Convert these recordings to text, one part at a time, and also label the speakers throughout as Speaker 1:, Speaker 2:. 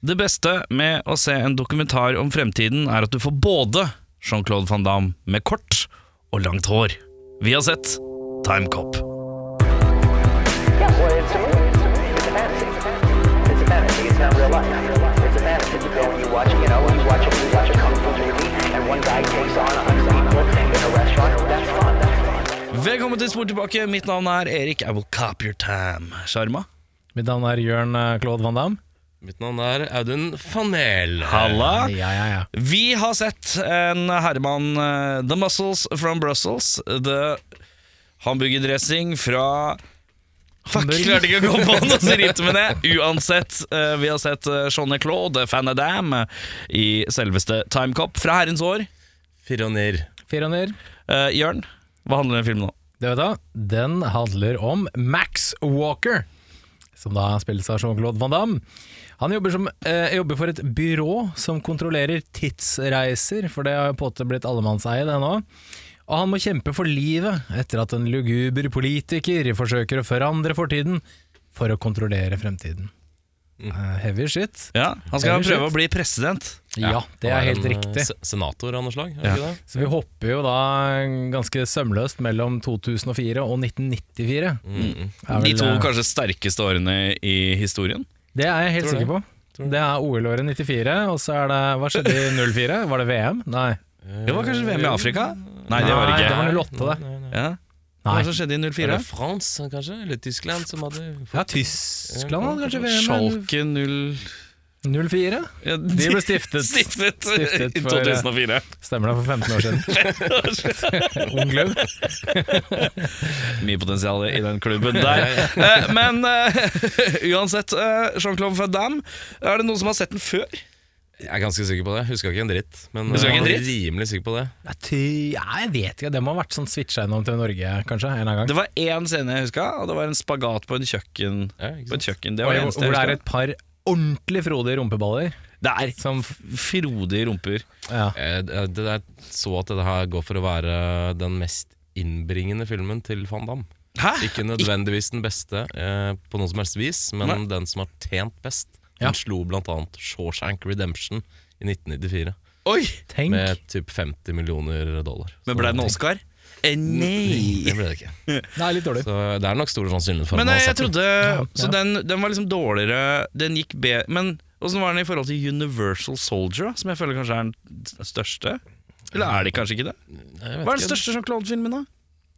Speaker 1: Det beste med å se en dokumentar om fremtiden er at du får både Jean-Claude Van Damme med kort og langt hår. Vi har sett Time Cop.
Speaker 2: Yeah, well, it's a movie. It's a movie. It's a fantasy. It's a fantasy. It's not real life. It's a fantasy. You go and you watch, you know, you watch, a, you watch a kung fu movie, and one guy takes on a hundred people in a restaurant. That's fun. That's fun.
Speaker 1: Velkommen til Spor tilbake. Mitt navn er Erik. I will cop your time. Sjarma.
Speaker 3: Mitt navn er Jørn eh, Claude Van Damme.
Speaker 4: Mitt navn er Audun Fanel.
Speaker 1: Halla.
Speaker 3: Ja, ja, ja.
Speaker 1: Vi har sett en herremann eh, The Muscles from Brussels. The hamburgerdressing fra Fuck,
Speaker 3: Hamburg.
Speaker 1: klarte ikke å komme på noe så rimte med det. Uansett, eh, vi har sett eh, Jeanne Claude, Fan of Dam, eh, i selveste Time Cop fra herrens år.
Speaker 4: Fironir.
Speaker 3: Fironier,
Speaker 1: Eh, Jørn, hva handler den filmen om?
Speaker 3: det vet du, den handler om Max Walker, som da spilles av Jean-Claude Van Damme. Han jobber, som, eh, jobber for et byrå som kontrollerer tidsreiser, for det har jo på en måte blitt allemannseie, det nå. Og han må kjempe for livet etter at en luguber politiker forsøker å forandre fortiden for å kontrollere fremtiden. Eh, heavy shit.
Speaker 1: Ja, han skal
Speaker 3: Eller
Speaker 1: prøve
Speaker 3: shit.
Speaker 1: å bli president.
Speaker 3: Ja, det er helt
Speaker 4: en, eh,
Speaker 3: riktig.
Speaker 4: se- Senator av noe slag? er det ikke det?
Speaker 3: Så vi hopper jo da ganske sømløst mellom 2004 og 1994.
Speaker 4: Mm,
Speaker 3: Er
Speaker 1: Mm. De
Speaker 3: vel,
Speaker 1: to
Speaker 3: eh,
Speaker 1: kanskje sterkeste årene i historien.
Speaker 3: Det er jeg helt
Speaker 4: Tror du
Speaker 3: sikker på. Det er OL-året 94, og så er det Hva skjedde i 04? Var det VM? Nei.
Speaker 1: Det var kanskje VM i Afrika? Nei, det var det
Speaker 3: Nei,
Speaker 1: ikke.
Speaker 3: det var 08, det.
Speaker 4: Nei, nei, nei.
Speaker 1: Ja. Hva
Speaker 3: Nei.
Speaker 1: som skjedde i
Speaker 4: Var
Speaker 1: 04?
Speaker 4: det France, kanskje? Eller Tyskland, som hadde
Speaker 3: Ja, Tyskland hadde kanskje VM?
Speaker 1: Schalke 0...
Speaker 3: eller 04?
Speaker 1: Ja,
Speaker 3: De ble stiftet.
Speaker 1: Stiftet,
Speaker 3: Stiftet
Speaker 1: i
Speaker 3: for, eh,
Speaker 1: 2004.
Speaker 3: Stemmer det, for 15 år siden. Ung klubb.
Speaker 1: Mye potensial i den klubben der. Eh, Men eh, uansett, eh, Jean-Claude Van Damme, er det noen som har sett den før?
Speaker 4: Jeg er ganske sikker på det. Huska ikke en dritt. Men
Speaker 1: Husker
Speaker 4: eh,
Speaker 1: ikke en
Speaker 4: jeg
Speaker 1: dritt?
Speaker 4: er rimelig sikker på det.
Speaker 3: Ja, ty- ja, jeg vet ikke, det må ha vært sånn switcha innom til Norge, kanskje, en eller annen gang.
Speaker 1: Det var én scene jeg huska, og det var en spagat på en kjøkken.
Speaker 4: Ja, ikke
Speaker 1: På et
Speaker 4: sant?
Speaker 1: kjøkken, Det
Speaker 3: Hvor
Speaker 1: var
Speaker 3: det
Speaker 1: det eneste jeg
Speaker 3: er
Speaker 1: huska.
Speaker 3: et par ordentlig frodige rumpeballer
Speaker 1: Det er
Speaker 3: som
Speaker 1: frodige rumper.
Speaker 3: ja.
Speaker 4: Eh, det- det- Jeg så at dette her går for å være den mest innbringende filmen til Van Damme.
Speaker 1: Hæ?
Speaker 4: Ikke nødvendigvis den beste eh, på noe som helst vis, men
Speaker 1: Nei.
Speaker 4: den som har tjent best.
Speaker 3: Ja.
Speaker 4: Han slo blant annet Shawshank Redemption i 1994
Speaker 1: Oi!
Speaker 3: Tenk.
Speaker 4: med typ 50 millioner dollar.
Speaker 1: Men ble det en Oscar? Eh, nei!
Speaker 4: Mm, Det ble det ikke.
Speaker 3: Det er litt dårlig.
Speaker 4: Så det er nok stor sannsynlighet for
Speaker 1: Men
Speaker 4: at
Speaker 1: eh,
Speaker 4: han har
Speaker 1: jeg
Speaker 4: sett den.
Speaker 1: trodde Så
Speaker 3: ja.
Speaker 1: den, den var liksom dårligere Den gikk bedre Men åssen var den i forhold til Universal Soldier, da, som jeg føler kanskje er den største? Eller er det kanskje ikke det?
Speaker 4: Jeg vet
Speaker 1: Hva er den
Speaker 4: ikke.
Speaker 1: største Jean-Claude-filmen, da?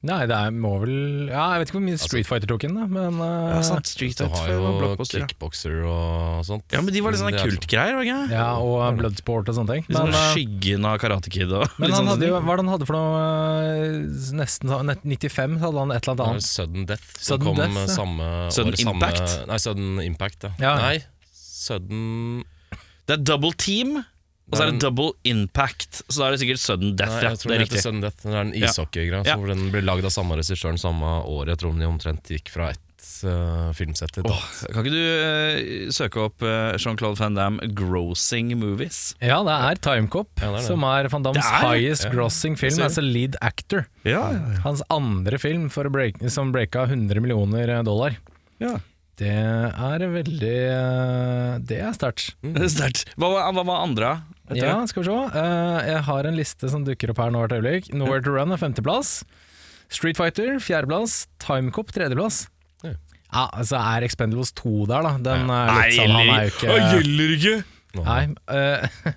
Speaker 3: Nei, det er, må vel Ja, jeg vet ikke hvor mye Street Fighter tok inn, da, men eh,
Speaker 1: Ja, sant, Street
Speaker 4: Du
Speaker 1: Fight
Speaker 4: har
Speaker 1: og
Speaker 4: jo
Speaker 1: Blockbuster. ja.
Speaker 4: kickbokser og sånt.
Speaker 1: Ja, men de var liksom litt sånne
Speaker 4: Det er sånn-
Speaker 1: kultgreier, var det ikke?
Speaker 3: ja, og Bloodsport og sånne ting.
Speaker 1: Litt sånn
Speaker 3: Men, eh,
Speaker 1: Skyggen av Karate Kid og
Speaker 3: men
Speaker 1: litt sånn
Speaker 3: han
Speaker 1: sånne
Speaker 3: hadde jo,
Speaker 1: ting.
Speaker 3: hva er det han hadde for noe eh, Nesten sånn- net- 95 så hadde han et eller
Speaker 4: Det var
Speaker 3: annet annet.
Speaker 4: Sudden Death som
Speaker 3: Sudden
Speaker 4: kom
Speaker 3: Death, ja.
Speaker 4: eh, samme
Speaker 1: Sudden
Speaker 4: år, samme-
Speaker 1: Impact?
Speaker 4: Nei, Sudden Impact, ja.
Speaker 3: Ja.
Speaker 4: Nei, Sudden
Speaker 1: Det er Double Team, og så er det Double Impact. Så da er det sikkert Sudden Death.
Speaker 4: Nei,
Speaker 1: ja,
Speaker 4: jeg tror
Speaker 1: det er
Speaker 4: den heter
Speaker 1: riktig.
Speaker 4: Sudden Death. Det er en
Speaker 1: Ja.
Speaker 4: ishockeygreie.
Speaker 1: Ja.
Speaker 4: så Hvor den ble lagd av samme regissøren samme år. Jeg tror de omtrent gikk fra ett eh, filmsett til et
Speaker 1: Åh, kan ikke du eh, søke opp eh, Jean-Claude Van Damme 'Grossing Movies'?
Speaker 3: Ja, det er Timecop,
Speaker 4: Ja, det er det.
Speaker 3: som er Van Dams
Speaker 1: Det er-
Speaker 3: highest grossing film
Speaker 4: ser
Speaker 3: as a lead actor.
Speaker 1: Ja, ja,
Speaker 3: Hans andre film for å break, som breaka 100 millioner dollar.
Speaker 1: ja.
Speaker 3: Det er veldig eh, Det er sterkt.
Speaker 1: Det er Sterkt. Hva, var- hva var andre? da? Etter
Speaker 3: Ja, skal vi se. Eh, jeg har en liste som dukker opp her nå hvert øyeblikk. Nowhere to Run er femteplass. Street Fighter fjerdeplass. Timecop tredjeplass.
Speaker 4: Ja.
Speaker 3: Ja, altså er Expendables 2 der, da. Den
Speaker 1: det?
Speaker 3: er litt sånn, han er jo
Speaker 1: Nei,
Speaker 3: ikke
Speaker 1: gjelder ikke!
Speaker 4: nå.
Speaker 3: Nei. eh,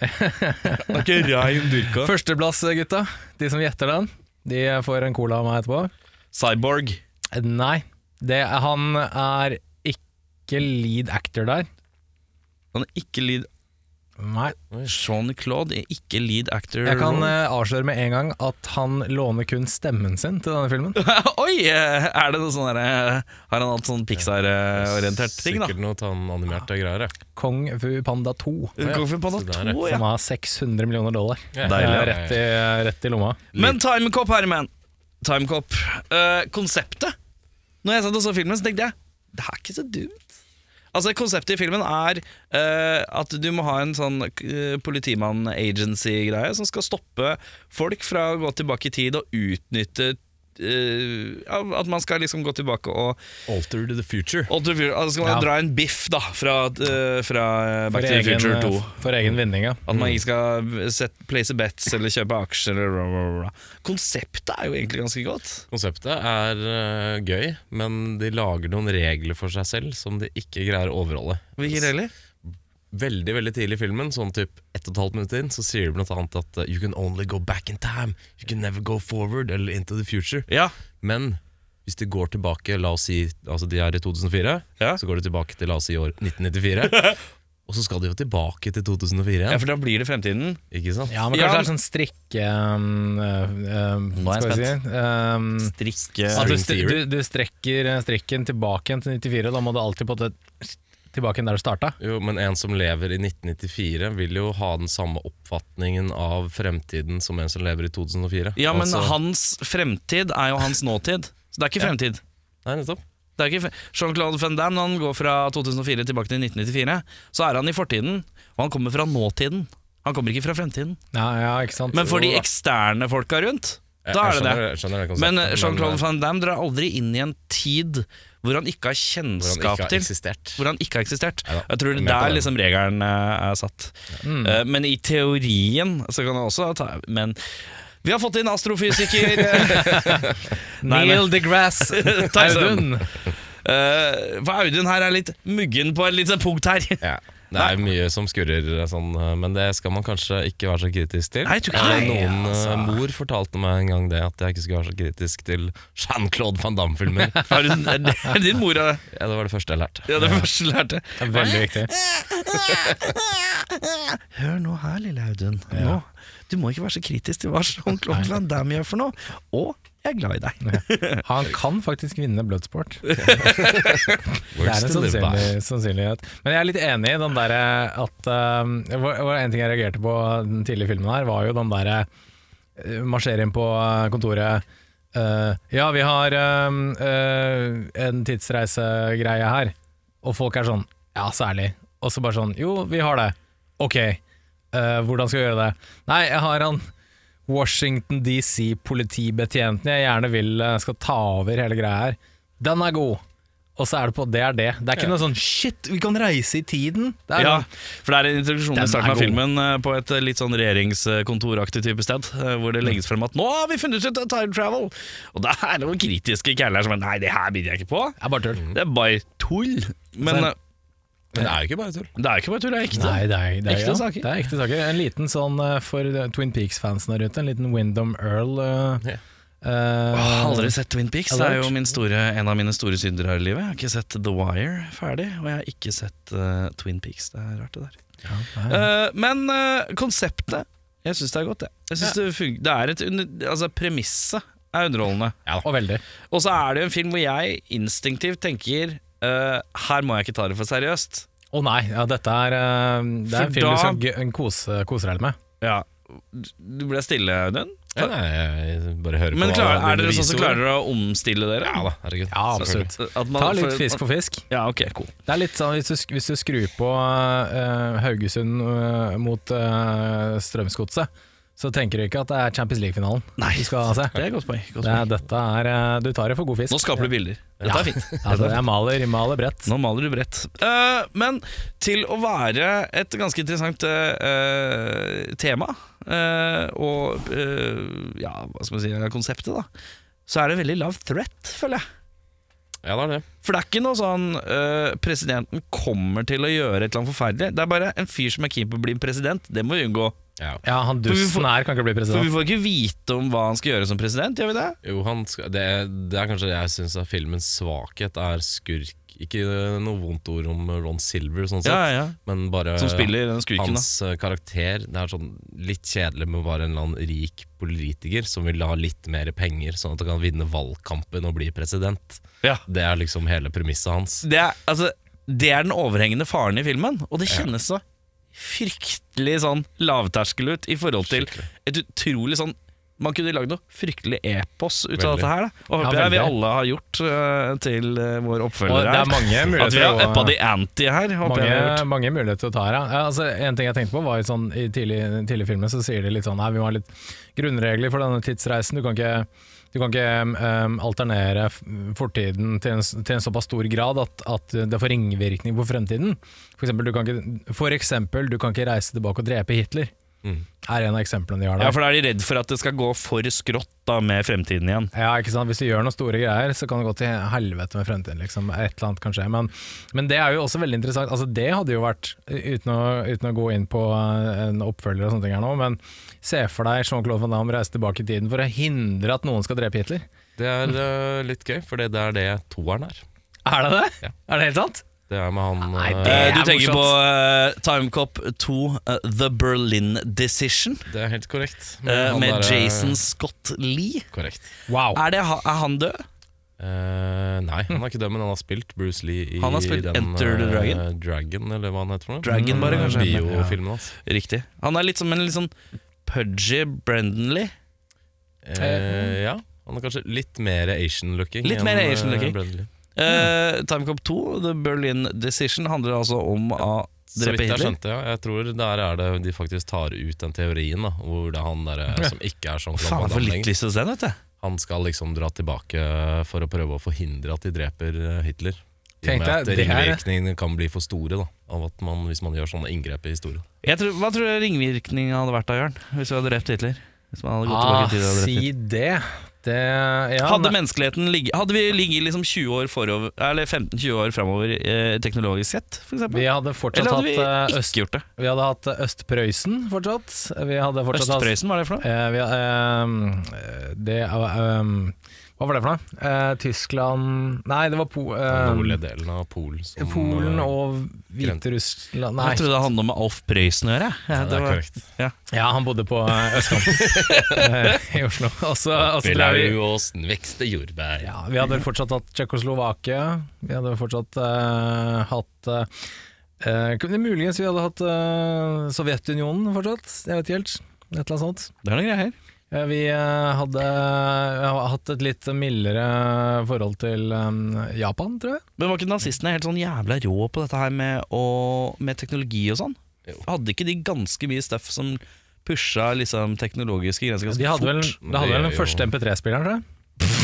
Speaker 1: Det er ikke rein dyrka.
Speaker 3: førsteplass, gutta. De som gjetter den, de får en cola av meg etterpå.
Speaker 1: Cyborg.
Speaker 3: Eh, Nei. Det, han er ikke lead actor der.
Speaker 1: Han er ikke lead
Speaker 3: Nei.
Speaker 1: Jean-Claude er ikke lead actor.
Speaker 3: Jeg kan eh, avsløre med en gang at han låner kun stemmen sin til denne filmen.
Speaker 1: Oi! eh, Er det noe sånn der, eh, Har han hatt sånn Pixar-orientert ting, da?
Speaker 4: Sikkert noe tann animerte greier. jeg.
Speaker 3: Kong Fu Panda 2.
Speaker 4: ja.
Speaker 1: Kung Fu Panda
Speaker 4: Så der,
Speaker 1: 2, ja.
Speaker 3: Som har 600 millioner dollar.
Speaker 4: Ja.
Speaker 1: Deilig,
Speaker 3: Det
Speaker 1: ja.
Speaker 3: er Rett, i, rett i lomma.
Speaker 1: Men Timecop, herremenn. Timecop. Eh, konseptet Når jeg satt og så filmen, så tenkte jeg det er ikke så dumt. Altså Konseptet i filmen er eh, at du må ha en sånn eh, politimann-agency-greie som skal stoppe folk fra å gå tilbake i tid og utnytte eh, ja, At man skal liksom gå tilbake og
Speaker 4: Alter to the future.
Speaker 1: og til- altså skal man
Speaker 3: Ja.
Speaker 1: dra en biff da fra, eh, fra Back to
Speaker 3: For
Speaker 1: the
Speaker 3: egen, eh,
Speaker 1: Future 2.
Speaker 3: for egen vinning, ja.
Speaker 1: At man ikke skal set, place bets eller kjøpe aksjer. Eller bla, bla, bla. Konseptet er jo egentlig ganske godt.
Speaker 4: Konseptet er øh, gøy, men de lager noen regler for seg selv som de ikke greier å overholde.
Speaker 1: Hvilke regler?
Speaker 4: Veldig veldig tidlig i filmen, sånn typ ett og et halvt minutt inn, så sier de blant annet at øh, You can only go back in time. You can never go forward eller into the future.
Speaker 1: Ja.
Speaker 4: Men hvis de går tilbake, la oss si altså de er i 2004,
Speaker 1: Ja.
Speaker 4: så går de tilbake til la oss si år 1994. og så skal de jo tilbake til 2004 igjen.
Speaker 1: ja, for da blir det fremtiden.
Speaker 4: Ikke sant?
Speaker 3: Ja, men kanskje
Speaker 1: Ja,
Speaker 3: det er sånn strikke... Um, um,
Speaker 1: Nå er jeg
Speaker 3: skal vi si, um,
Speaker 1: Strikke
Speaker 3: at du,
Speaker 4: String
Speaker 3: stri- du,
Speaker 4: theory.
Speaker 3: du strekker eh, strikken tilbake igjen til 94, da må du alltid på det tilbake igjen der du starta.
Speaker 4: Jo, men en som lever i 1994 vil jo ha den samme oppfatningen av fremtiden som en som lever i 2004.
Speaker 1: Ja, men
Speaker 4: Altså-
Speaker 1: hans fremtid er jo hans nåtid. Så det er ikke fremtid.
Speaker 4: Nei, nettopp.
Speaker 1: Det er ikke fre- Jean-Claude Van Damme når han går fra 2004 tilbake til 1994, så er han i fortiden, og han kommer fra nåtiden. Han kommer ikke fra fremtiden.
Speaker 3: Ja, ja, ikke sant?
Speaker 1: Men for de
Speaker 3: Jo da.
Speaker 1: eksterne folka rundt,
Speaker 4: Jeg-
Speaker 1: da er
Speaker 4: jeg
Speaker 1: det
Speaker 4: skjønner-
Speaker 1: det.
Speaker 4: jeg skjønner det
Speaker 1: Men
Speaker 4: konseptet,
Speaker 1: eh, Jean-Claude
Speaker 4: men,
Speaker 1: Van Damme drar aldri inn i en tid hvor han ikke har
Speaker 4: eh, hvor han
Speaker 1: kjennskap
Speaker 4: ikke har
Speaker 1: til
Speaker 4: eksistert.
Speaker 1: hvor han ikke har eksistert.
Speaker 4: Neida,
Speaker 1: Jeg tror det
Speaker 4: jeg er med på
Speaker 1: der
Speaker 4: den.
Speaker 1: liksom regelen eh, er satt. Eh, men i teorien så kan han også ta Men vi har fått inn astrofysiker Nei, men-
Speaker 3: Neil deGrasse
Speaker 1: Tyson.
Speaker 3: Audun.
Speaker 1: Eh, for Audun her er litt muggen på et lite punkt her.
Speaker 4: Ja. Det er mye som skurrer, eh, sånn, eh, men det skal man kanskje ikke være så kritisk til.
Speaker 1: Nei, jeg tror ikke
Speaker 4: Eh,
Speaker 1: det. altså.
Speaker 4: Noen eh, mor fortalte meg en gang det, at jeg ikke skulle være så kritisk til Jean-Claude Van Damme-filmer. ja,
Speaker 1: Har du, er det er din mor er det?
Speaker 4: det var det første jeg lærte.
Speaker 1: Ja, det første jeg lærte.
Speaker 3: Det er Veldig viktig.
Speaker 1: Hør nå her, lille Audun. Nå. Du må ikke være så kritisk til hva Jean-Claude Van Damme gjør for noe. Og jeg er glad i deg.
Speaker 3: Han kan faktisk vinne Bloodsport. Det
Speaker 4: Words
Speaker 3: er en
Speaker 1: sånn
Speaker 4: to live by.
Speaker 3: sannsynlig, sannsynlighet. Men jeg er litt enig i den derre at um, det var- det var En ting jeg reagerte på den tidlige filmen her, var jo den derre eh, Marsjere inn på eh, kontoret. eh, ja, vi har um, eh, en tidsreisegreie her. Og folk er sånn Ja, særlig. Og så bare sånn Jo, vi har det. Ok, eh, hvordan skal vi gjøre det? Nei, jeg har han Washington DC-politibetjenten jeg gjerne vil eh, skal ta over hele greia her. Den er god. Og så er det på det er det. Det er ikke noe sånn shit, vi kan reise i tiden. Det er
Speaker 1: Ja,
Speaker 3: sånn,
Speaker 1: for det er en introduksjon i
Speaker 3: Den
Speaker 1: starten
Speaker 3: er
Speaker 1: av
Speaker 3: god.
Speaker 1: filmen eh, på et eh, litt sånn regjeringskontoraktig type sted, eh, hvor det legges frem at 'nå har vi funnet ut eh, time travel'. Og det er noen kritiske kæller som er 'nei, det her begynner jeg ikke på'.
Speaker 3: det er bare tull.
Speaker 1: Det er bare tull. Men
Speaker 3: Så-
Speaker 1: eh,
Speaker 4: Men det er jo ikke bare tull.
Speaker 1: det er ikke bare tull, det er ekte.
Speaker 3: Nei, det er, det, er,
Speaker 1: Ekte
Speaker 3: ja,
Speaker 1: saker.
Speaker 3: det er ekte saker. En liten sånn eh, for eh, Twin Peaks-fansen der ute, en liten Wyndham Earl. eh,
Speaker 4: Ja.
Speaker 3: eh,
Speaker 1: Jeg har aldri sett Twin Peaks. Det er
Speaker 3: Alert.
Speaker 1: jo min store, en av mine store synder her i livet. Jeg har ikke sett The Wire ferdig, og jeg har ikke sett eh, Twin Peaks. Det er rart, det der.
Speaker 3: ja, nei.
Speaker 1: Eh, men eh, konseptet Jeg syns det er godt, jeg. jeg synes det, fun- det er et under- Altså, premisset er underholdende.
Speaker 3: Og veldig.
Speaker 1: Og så er det jo en film hvor jeg instinktivt tenker eh, her må jeg ikke ta det for seriøst.
Speaker 3: Å nei, ja, dette er, eh, det er
Speaker 1: For
Speaker 3: en film
Speaker 1: da-
Speaker 3: du skal gø- kose, kose deg med.
Speaker 1: Ja, Du ble stille, Audun.
Speaker 4: Ja, nei, jeg bare hører
Speaker 1: Men
Speaker 4: på
Speaker 1: klarer,
Speaker 4: hva
Speaker 1: er dere
Speaker 4: dine
Speaker 1: sånn som
Speaker 4: visord-
Speaker 1: klarer dere å omstille dere?
Speaker 4: Ja da, herregud.
Speaker 3: Ja, absolutt.
Speaker 1: At man-
Speaker 3: Ta
Speaker 1: for-
Speaker 3: litt fisk for fisk.
Speaker 1: Ja, ok, cool.
Speaker 3: Det er litt sånn hvis du, sk- hvis du skrur på eh, Haugesund eh, mot eh, Strømsgodset, så tenker du ikke at det er Champions League-finalen
Speaker 1: Nei,
Speaker 3: du skal se.
Speaker 1: Det er et godt poeng. Godt
Speaker 3: Det
Speaker 1: poeng.
Speaker 3: er, dette er eh, Du tar det for god fisk.
Speaker 1: Nå skaper du bilder. Dette
Speaker 3: Ja.
Speaker 1: er fint.
Speaker 3: Ja, det, jeg maler, jeg maler bredt.
Speaker 1: Nå maler du bredt. Eh, men til å være et ganske interessant eh, tema, eh, og eh, ja, hva skal man si, konseptet, da, så er det veldig lav threat, føler jeg.
Speaker 4: Ja, det er det.
Speaker 1: For det er ikke noe sånn øh, presidenten kommer til å gjøre et eller annet forferdelig. Det er bare en fyr som er keen på å bli president. Det må vi unngå.
Speaker 4: Ja.
Speaker 3: Ja, han
Speaker 1: For vi
Speaker 3: dusten her kan ikke bli
Speaker 1: For vi
Speaker 3: president.
Speaker 1: får ikke vite om hva han skal gjøre som president, gjør vi det?
Speaker 4: Jo, han skal, det, det er kanskje det jeg syns er filmens svakhet, er skurk. Ikke noe vondt ord om Ron Silver, sånn sett,
Speaker 1: ja.
Speaker 4: men bare
Speaker 1: Som spiller den skurken, da.
Speaker 4: hans eh, karakter. Det er sånn litt kjedelig med å være en eller annen rik politiker som vil ha litt mer penger, sånn at han kan vinne valgkampen og bli president.
Speaker 1: Ja.
Speaker 4: Det er liksom hele premisset hans.
Speaker 1: Det er, altså, det er den overhengende faren i filmen, og det kjennes så fryktelig sånn lavterskel ut i forhold til
Speaker 4: Skikkelig.
Speaker 1: et utrolig sånn man kunne lagd noe fryktelig epos ut av
Speaker 4: Veldig.
Speaker 1: dette her. Da. Og
Speaker 3: Ja,
Speaker 1: håper jeg vi
Speaker 3: veldig.
Speaker 1: alle har gjort øh, til øh, vår
Speaker 3: Og
Speaker 1: oppfølger
Speaker 3: det er
Speaker 1: her.
Speaker 3: mange
Speaker 1: At vi
Speaker 3: muligheter
Speaker 1: har
Speaker 3: å-
Speaker 1: uppa the ante her. Håper jeg vi har gjort.
Speaker 3: mange, mange muligheter å ta her. ja. Ja, altså, en ting jeg tenkte på var jo sånn, I tidlig, tidlig filmen så sier de litt sånn Nei, vi må ha litt grunnregler for denne tidsreisen. Du kan ikke Du kan ikke ehm, alternere f- fortiden til en, s- til en såpass stor grad at, at det får ringvirkning på fremtiden. For eksempel, du kan ikke, for eksempel, du kan ikke reise tilbake og drepe Hitler.
Speaker 4: Mm.
Speaker 3: Er en av eksemplene de har
Speaker 1: Ja,
Speaker 3: der.
Speaker 1: for da er de redd for at det skal gå for skrått da med fremtiden igjen.
Speaker 3: Ja, ikke sant? Hvis du gjør noen store greier, så kan det gå til helvete med fremtiden. Liksom. Et eller annet kan skje. Men, men det er jo også veldig interessant. Altså, det hadde jo vært, uten å, uten å gå inn på eh, en oppfølger og sånne ting her nå, men se for deg Jean-Claude Van Damme reise tilbake i tiden for å hindre at noen skal drepe Hitler.
Speaker 4: Det er
Speaker 1: Mm.
Speaker 4: eh, litt gøy, for det er det toeren er.
Speaker 3: Er det det?
Speaker 4: Ja.
Speaker 3: Er det helt sant?
Speaker 4: Det er med han
Speaker 3: Nei,
Speaker 4: eh,
Speaker 3: det-
Speaker 1: Eh, du
Speaker 3: er
Speaker 1: tenker på eh, Timecop 2, eh, The Berlin Decision,
Speaker 4: eh, Det er helt korrekt. Men
Speaker 1: eh,
Speaker 4: han
Speaker 1: med
Speaker 4: er, eh,
Speaker 1: Jason Scott Lee.
Speaker 4: Korrekt.
Speaker 3: Wow.
Speaker 1: Er, det, ha- er han død?
Speaker 4: Eh, nei, han er ikke død, men han har spilt Bruce Lee i
Speaker 1: Han har spilt
Speaker 4: den
Speaker 1: Enter the
Speaker 4: eh,
Speaker 1: Dragon?
Speaker 4: Dragon, eller hva han heter for noe.
Speaker 1: Dragon bare,
Speaker 4: Den
Speaker 1: kanskje?
Speaker 4: Biofilmen hans.
Speaker 1: Riktig. Han er litt som en litt sånn pudgy Brendan Lee.
Speaker 4: Eh, ja. Han er kanskje litt mer Asian-looking.
Speaker 1: Litt
Speaker 4: enn,
Speaker 1: mer Asian-looking.
Speaker 4: eh, Brandon Lee.
Speaker 1: Eh,
Speaker 4: Mm.
Speaker 1: Timecop 2, The Berlin Decision, handler altså om å
Speaker 4: Så
Speaker 1: drepe
Speaker 4: vidt jeg
Speaker 1: Hitler.
Speaker 4: skjønte, ja. Jeg tror der er det de faktisk tar ut den teorien, da. Hvor det er han der eh, som ikke er sånn
Speaker 1: Faen, jeg får litt lyst til å se den, vet du.
Speaker 4: Han skal liksom dra tilbake for å prøve å forhindre at de dreper eh, Hitler. I og
Speaker 3: Tenkte
Speaker 4: med
Speaker 3: jeg,
Speaker 4: at
Speaker 3: det her-
Speaker 4: ringvirkningene kan bli for store da, av at man, hvis man gjør sånne inngrep i historien.
Speaker 1: Jeg tror, hva tror du ringvirkningene hadde vært da, Jørn? Hvis vi hadde drept Hitler? Hvis man hadde gått
Speaker 3: Ah,
Speaker 1: tilbake i tid og drept Hitler?
Speaker 3: si det. det ja,
Speaker 1: Hadde
Speaker 3: nei.
Speaker 1: menneskeligheten ligget Hadde vi ligget liksom 20 år forover Eller 15-20 år framover eh, teknologisk sett, for eksempel?
Speaker 3: vi hadde fortsatt
Speaker 1: Eller hadde vi
Speaker 3: hatt eh,
Speaker 1: ikke
Speaker 3: Øst,
Speaker 1: gjort det?
Speaker 3: vi hadde hatt eh, Øst-Prøysen fortsatt. Vi hadde fortsatt hatt
Speaker 1: Øst-Prøysen, hva er det for noe?
Speaker 3: Eh, vi, eh, det er, eh, Hva var det for noe? Eh, Tyskland Nei, det var po,
Speaker 1: Um,
Speaker 3: eh,
Speaker 4: Den nordlige delen av Polen. som,
Speaker 3: Polen
Speaker 4: eh,
Speaker 3: og Hviterussland Nei,
Speaker 1: Jeg trodde det handlet om Alf Prøysen å gjøre. jeg. Ja,
Speaker 4: det, er korrekt.
Speaker 3: ja, han bodde på eh, østkanten eh, i Oslo. Og så, og
Speaker 1: altså,
Speaker 3: så drev vi
Speaker 4: Belauåsen vekste jordbær.
Speaker 3: ja, Vi hadde fortsatt hatt Tsjekkoslovakia. Vi hadde fortsatt eh, hatt eh, kunne- Muligens vi hadde hatt eh, Sovjetunionen fortsatt. Jeg vet ikke helt. Et eller annet sånt.
Speaker 1: det er noen greier.
Speaker 3: Eh, Vi eh, hadde jeg har hatt et litt mildere forhold til eh, Japan, tror jeg.
Speaker 1: Men var ikke nazistene helt sånn jævla rå på dette her med, å, med teknologi og sånn?
Speaker 4: Jo.
Speaker 1: Hadde ikke de ganske mye stuff som pusha liksom teknologiske grenser
Speaker 3: De
Speaker 1: ganske
Speaker 3: hadde vel,
Speaker 1: fort?
Speaker 3: de hadde vel
Speaker 4: Det
Speaker 3: den
Speaker 4: gjør jo-
Speaker 3: første MP3-spilleren, tror jeg.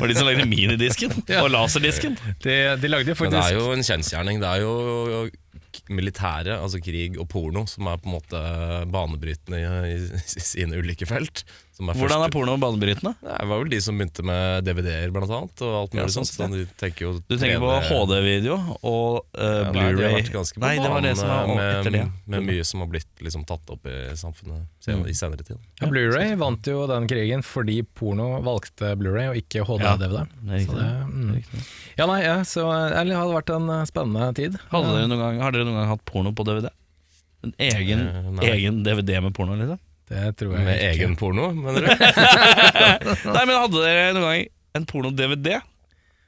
Speaker 1: Var de som lagde minidisken? Og laserdisken?
Speaker 3: De, de lagde jo
Speaker 4: Men det
Speaker 3: faktisk
Speaker 4: er jo en kjensgjerning. Det er jo k- militære, altså krig og porno, som er på en måte banebrytende i, i, i sine ulike felt. Som er
Speaker 1: Hvordan
Speaker 4: første-
Speaker 1: er porno banebrytende?
Speaker 4: Nei, Det var vel de som begynte med DVD-er, blant annet. Og alt
Speaker 1: Ja,
Speaker 4: mulig
Speaker 1: sånn
Speaker 4: sånt. Så de tenker jo
Speaker 1: Du tenker på HD-video og eh,
Speaker 4: Ja, nei, de har
Speaker 1: Blu-ray
Speaker 4: vært ganske på
Speaker 1: Nei, det var det som var
Speaker 4: banen
Speaker 1: etter det. Mm.
Speaker 4: med, med mye som har blitt liksom, tatt opp i samfunnet sen, i senere tid.
Speaker 3: ja, Blu-ray vant jo den krigen fordi porno valgte Blu-ray og ikke
Speaker 1: Ja.
Speaker 3: HD-DVD.
Speaker 1: Det er riktig.
Speaker 3: mm. Ja, nei, ja, så eller, det hadde vært en eh, spennende tid.
Speaker 1: Hadde dere noen gang, har dere noen gang hatt porno på DVD? En egen,
Speaker 4: Eh, nei.
Speaker 1: egen DVD med porno, liksom?
Speaker 3: Det tror jeg
Speaker 4: Med
Speaker 3: ikke.
Speaker 4: egen porno, mener du?
Speaker 1: Nei, men hadde dere noen gang en porno-DVD?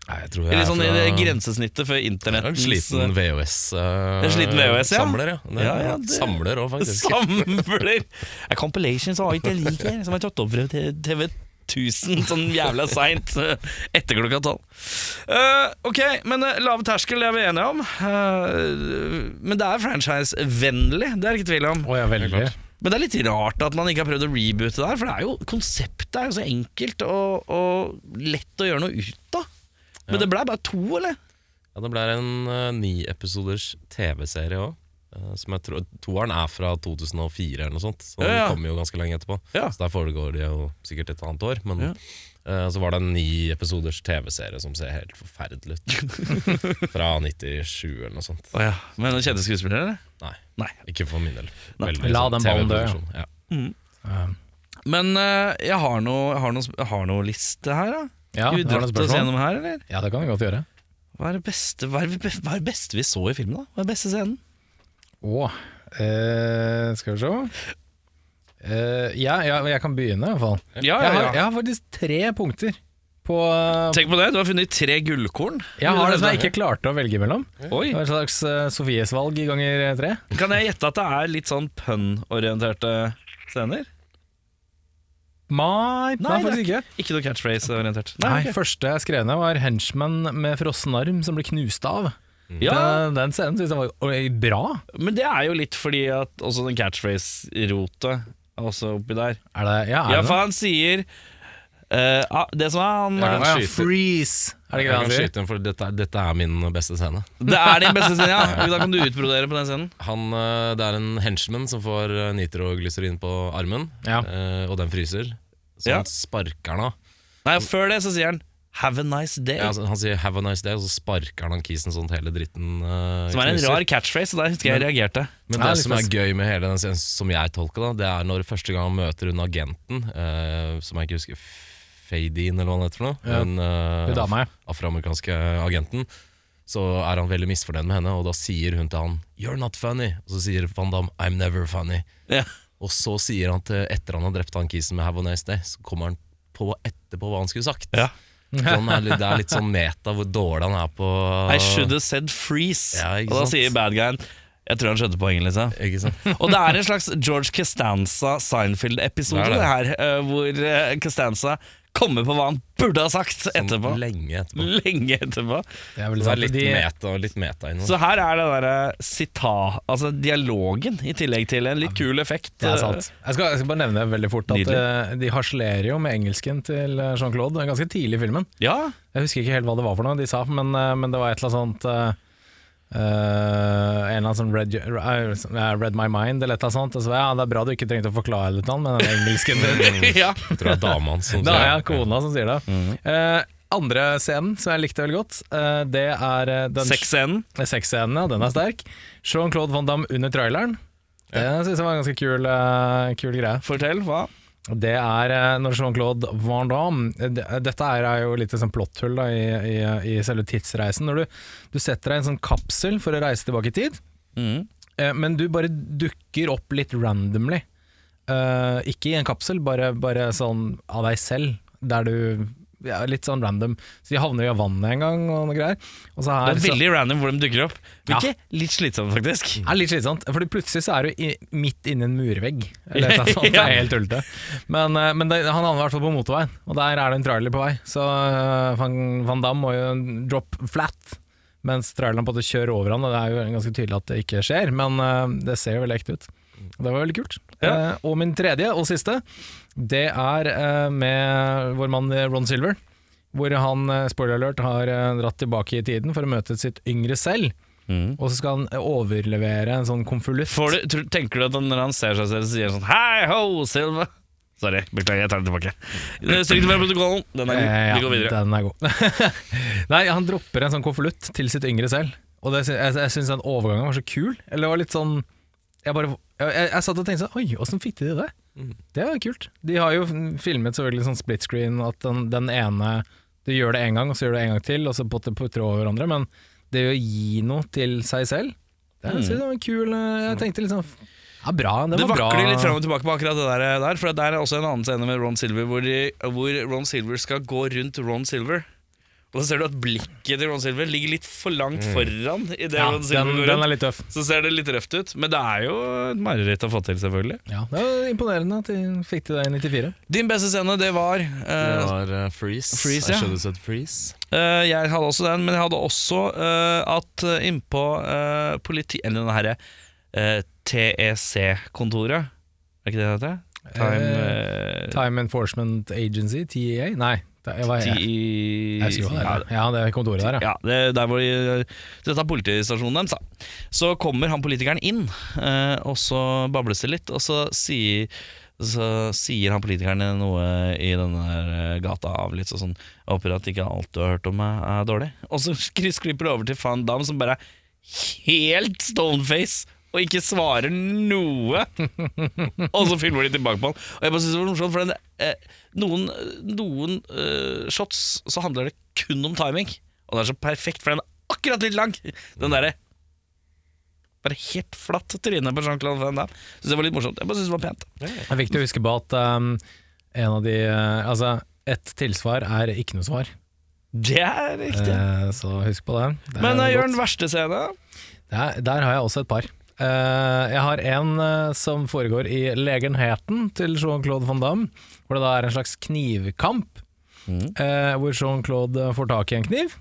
Speaker 4: Nei, jeg tror jeg
Speaker 1: Eller
Speaker 4: er
Speaker 1: sånn i
Speaker 4: fra-
Speaker 1: det grensesnittet for
Speaker 4: jeg er en
Speaker 1: internettens
Speaker 4: sliten VHS, eh,
Speaker 1: eh, En sliten VHS, ja.
Speaker 4: samler, ja. Det,
Speaker 1: Ja, ja, det-
Speaker 4: Samler òg, faktisk.
Speaker 1: Samler! Er compilations av alt jeg liker, som er tatt opp fra TV 1000 sånn jævla seint eh, etter klokka tolv. Eh, ok, men eh, lav terskel, det er vi enige om. Eh, men det er franchise-vennlig, det er det ikke tvil om.
Speaker 3: Å ja, veldig.
Speaker 4: klart.
Speaker 1: Men det er litt rart at man ikke har prøvd å reboote der, for det er jo, konseptet er jo så enkelt og, og lett å gjøre noe ut av. Men det blei bare to, eller?
Speaker 4: Ja, det ble en uh, ni-episoders TV-serie òg. eh, som jeg tror, Toeren er fra 2004 eller noe sånt, så den
Speaker 1: Ja, ja.
Speaker 4: kommer jo ganske lenge etterpå.
Speaker 1: Ja.
Speaker 4: Så der foregår det jo sikkert et annet år. Men
Speaker 1: Ja.
Speaker 4: eh, så var det en ni-episoders TV-serie som ser helt forferdelig ut. fra 97 eller noe sånt.
Speaker 1: Oh, ja. Men noen kjente skuespillere, eller?
Speaker 4: Nei,
Speaker 1: Nei.
Speaker 4: ikke for min del.
Speaker 1: Nei.
Speaker 4: Veldig
Speaker 3: La
Speaker 4: sånn
Speaker 3: den ballen dø.
Speaker 4: TV-produksjon, Ja.
Speaker 1: Men eh, jeg har noe, jeg har noe, jeg har noe liste her, da.
Speaker 3: Ja,
Speaker 1: Skal vi
Speaker 3: har du noen
Speaker 1: dratt oss
Speaker 3: spørsmål?
Speaker 1: gjennom her, eller?
Speaker 3: Ja, det kan vi godt gjøre.
Speaker 1: Hva er det beste, hva er det, be- hva er det beste vi så i filmen, da? Hva er beste scenen?
Speaker 3: Å, eh, skal vi se eh, ja, ja, jeg kan begynne i hvert fall. Jeg har, jeg har faktisk tre punkter på
Speaker 1: Tenk på det, du har funnet tre gullkorn.
Speaker 3: Jeg har det som jeg ikke klarte å velge mellom.
Speaker 1: Oi.
Speaker 3: Det var et slags eh, Sofies valg i ganger eh, tre.
Speaker 1: Kan jeg gjette at det er litt sånn pønn-orienterte scener?
Speaker 3: Nei, nei,
Speaker 1: Nei, det er
Speaker 3: faktisk ikke.
Speaker 1: Ikke noe catchphrase-orientert.
Speaker 3: Nei,
Speaker 1: ok.
Speaker 3: Første jeg skrev ned, var 'Henchman med frossen arm som ble knust av'.
Speaker 1: ja,
Speaker 3: Den, den scenen syns jeg var oi, bra.
Speaker 1: Men det er jo litt fordi at også den catchphrase-rotet er også oppi der.
Speaker 3: Er det, ja, er
Speaker 1: Ja,
Speaker 3: det
Speaker 1: for
Speaker 3: noe?
Speaker 1: han sier Eh, ah, det som er han
Speaker 4: Jeg kan
Speaker 1: eh,
Speaker 4: skyte.
Speaker 3: freeze! Er det
Speaker 4: Jeg
Speaker 3: ikke det
Speaker 4: kan
Speaker 3: han sier?
Speaker 4: skyte inn, for dette, dette er min beste scene.
Speaker 1: Det er din beste scene, ja. Da kan du utbrodere på den scenen.
Speaker 4: Han, eh, det er en henchman som får eh, nitroglyserin på armen,
Speaker 3: Ja.
Speaker 4: eh, og den fryser. Så
Speaker 1: Ja.
Speaker 4: han sparker den av.
Speaker 1: Nei, før det så sier han 'have a nice day'.
Speaker 4: Ja, altså, han sier 'have a nice day', og så sparker han han kisen sånn at hele dritten eh,
Speaker 1: som er en
Speaker 4: knuser.
Speaker 1: rar catchphrase, og der husker jeg jeg reagerte.
Speaker 4: Men
Speaker 3: Ja,
Speaker 4: det
Speaker 3: litt
Speaker 4: som er
Speaker 3: fest.
Speaker 4: gøy med hele den scenen, som jeg tolker det, det er når første gang han møter hun agenten, eh, som jeg ikke husker Fadeen eller hva han heter for noe,
Speaker 3: Ja.
Speaker 4: den eh,
Speaker 3: Hun dama, ja.
Speaker 4: af- afroamerikanske agenten, så er han veldig misfornøyd med henne, og da sier hun til han 'You're not funny', og så sier Van Damme 'I'm never funny'.
Speaker 1: Ja.
Speaker 4: Og så sier han til etter han har drept han kisen med 'Have a nice day', så kommer han på etterpå hva han skulle sagt.
Speaker 1: Ja.
Speaker 4: Så han er litt, det er litt sånn meta hvor dårlig han er på
Speaker 1: I should have said freeze.
Speaker 4: Ja, ikke
Speaker 1: og da
Speaker 4: sant?
Speaker 1: sier bad guyen Jeg tror han skjønte poenget, liksom.
Speaker 4: Ikke sant?
Speaker 1: Og det er en slags George Costanza-Seinfeld-episode,
Speaker 4: Det
Speaker 1: det,
Speaker 4: er det.
Speaker 1: her, eh, hvor eh, Costanza kommer på hva han burde ha sagt etterpå.
Speaker 4: Sånn Lenge etterpå.
Speaker 1: Lenge etterpå.
Speaker 3: Det er vel
Speaker 4: Det
Speaker 3: sant,
Speaker 4: er litt
Speaker 3: de,
Speaker 4: meta, litt meta innom.
Speaker 1: Så her er det derre sita... Altså dialogen, i tillegg til en litt kul effekt.
Speaker 3: det er sant. Jeg skal, jeg skal bare nevne veldig fort at
Speaker 1: Nydelig.
Speaker 3: eh, de harselerer jo med engelsken til eh, Jean-Claude ganske tidlig i filmen.
Speaker 1: Eh, Ja,
Speaker 3: Jeg husker ikke helt hva det var for noe de sa, men, eh, men det var et eller annet sånt eh, eh, en eller annen sånn read, your- eh, read my mind eller et eller annet sånt. Og så, var jeg, ja, det er bra du ikke trengte å forklare det til han, men den engelsken din
Speaker 1: ja.
Speaker 4: Jeg tror det er dama hans som
Speaker 3: Da er
Speaker 4: sier
Speaker 3: jeg kona som sier det. Eh, andre scenen som jeg likte veldig godt, eh, det er eh, den
Speaker 1: Sexscenen.
Speaker 3: sexscenen. Ja, den er sterk. Jean-Claude Van Damme under traileren. Det synes jeg var en ganske kul, eh, kul greie.
Speaker 1: Fortell hva.
Speaker 3: Det er eh, når Jean-Claude Van Damme eh, det- Dette er er jo litt sånn plotthull da, i, i, i selve tidsreisen. Når du, du setter deg i en sånn kapsel for å reise tilbake i tid, eh, men du bare dukker opp litt randomly. Eh, ikke i en kapsel, bare, bare sånn av deg selv, der du ja, Litt sånn random. Så de havner jo i vannet en gang og noe greier. Og så
Speaker 1: Det
Speaker 3: her,
Speaker 1: er
Speaker 3: så-
Speaker 1: veldig random hvor de dukker opp.
Speaker 3: Ja.
Speaker 1: Ikke litt slitsomt, faktisk.
Speaker 3: Det er litt slitsomt, for plutselig så er du i, midt inni en murvegg. Eller noe sånt, det
Speaker 1: Ja.
Speaker 3: er helt tullete. Men, eh, men det, han havner i hvert fall på motorveien, og der er det en trailer på vei. Så eh, Van, Van Damme må jo drop flat, mens traileren på en måte kjører over han, og det er jo ganske tydelig at det ikke skjer, men eh, det ser jo veldig ekte ut. Og Det var veldig kult.
Speaker 1: Ja.
Speaker 3: Eh, og min tredje og siste, det er eh, med vår mann eh, Ron Silver. Hvor han, eh, spoiler alert, har eh, dratt tilbake i tiden for å møte sitt yngre selv. Og så skal han overlevere en sånn konvolutt.
Speaker 1: Får du, tror, tenker du at når han ser seg selv, så sier han sånn Hei ho, Silva! Sorry, beklager, jeg tar den tilbake. Stryk den fra protokollen. Den er god.
Speaker 3: Eh,
Speaker 1: Vi går videre.
Speaker 3: Den er god. Nei, han dropper en sånn konvolutt til sitt yngre selv. Og det, sy- jeg, jeg syns den overgangen var så kul. Eller det var litt sånn Jeg, bare, jeg, jeg, jeg satt og tenkte sånn Oi, åssen fikk de det?
Speaker 1: Mm.
Speaker 3: Det er jo kult. De har jo filmet selvfølgelig sånn split screen at den, den ene Du gjør det én gang, og så gjør du det en gang til, og så putter putter over hverandre. Men det å gi noe til seg selv, det er, det var en kul eh, Jeg tenkte liksom Ja, bra. Det
Speaker 1: Mm. Det
Speaker 3: var bra.
Speaker 1: vakler litt fram og tilbake på akkurat det der, der for det der er også en annen scene med Ron Silver hvor, de, hvor Ron Silver skal gå rundt Ron Silver. Og så ser du at blikket til Ron Silver ligger litt for langt foran. I det
Speaker 3: Mm. Ja,
Speaker 1: Ron Silver
Speaker 3: den,
Speaker 1: går
Speaker 3: den
Speaker 1: rundt.
Speaker 3: er litt tøff.
Speaker 1: Så ser det litt røft ut, men det er jo et mareritt å få til, selvfølgelig.
Speaker 3: Ja, det var imponerende at de fikk til det i 94.
Speaker 1: Din beste scene, det var eh,
Speaker 4: Det var eh, Freeze.
Speaker 1: Freeze, ja.
Speaker 4: Jeg skjønner du sett Freeze.
Speaker 1: Eh, jeg hadde også den, men jeg hadde også eh, at eh, innpå uh, politi... Eller den herre eh, TEC-kontoret. Er ikke det det heter? Time eh,
Speaker 3: Time Enforcement Agency, TEA? Nei, det jeg var, jeg,
Speaker 1: TI...
Speaker 3: jeg husker hva det
Speaker 1: Ja,
Speaker 3: er. Ja, det er kontoret der, ja.
Speaker 1: ja, det, der hvor de, Dette er politistasjonen deres, da. Så kommer han politikeren inn, eh, og så bables det litt, og så sier så sier han politikeren noe i denne her, eh, gata av litt sånn Jeg håper at ikke alt du har hørt om meg, er dårlig. Og så kryssklipper det over til Van Damme, som bare er helt stoneface og ikke svarer noe. Og så filmer de tilbake på han. Og jeg bare synes det var morsomt, for den, eh, noen, noen eh, shots så handler det kun om timing. Og det er så perfekt, for den er akkurat litt lang. Den derre bare helt flatt trynet på Jean-Claude Van Damme. Synes det var litt morsomt. Jeg bare synes det var pent.
Speaker 3: Det er viktig å huske på at um, en av de uh, Altså, et tilsvar er ikke noe svar,
Speaker 1: Det er riktig.
Speaker 3: Eh, så husk på det. Eh, det er
Speaker 1: Men eh,
Speaker 3: godt.
Speaker 1: jeg gjør den verste scene.
Speaker 3: der, der har jeg også et par. Eh, jeg har en eh, som foregår i legenheten til Jean-Claude van Damme, hvor det da er en slags knivkamp, eh, hvor Jean-Claude får tak i en kniv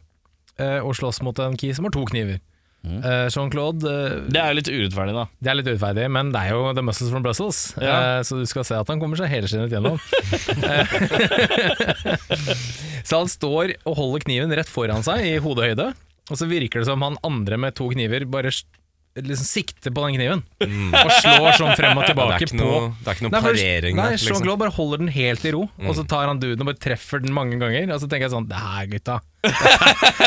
Speaker 3: eh, og slåss mot en key som har to kniver. Eh, Jean-Claude eh,
Speaker 5: Det er jo litt urettferdig, da.
Speaker 3: Det er litt utferdig, men det er jo The Muscles from Brussels,
Speaker 5: Ja.
Speaker 3: eh, så du skal se at han kommer seg helskinnet gjennom. så han står og holder kniven rett foran seg i hodehøyde, og så virker det som han andre med to kniver bare s- liksom sikter på den kniven, og slår sånn frem og
Speaker 4: Mm. Det er
Speaker 3: tilbake
Speaker 4: ikke
Speaker 3: på
Speaker 4: noe, det er ikke noe
Speaker 3: Nei, for-
Speaker 4: parering
Speaker 3: Nei,
Speaker 4: der. Liksom. Mm.
Speaker 3: Jean-Claude bare holder den helt i ro, og så tar han duden og bare treffer den mange ganger. Og så tenker jeg sånn Det her, gutta.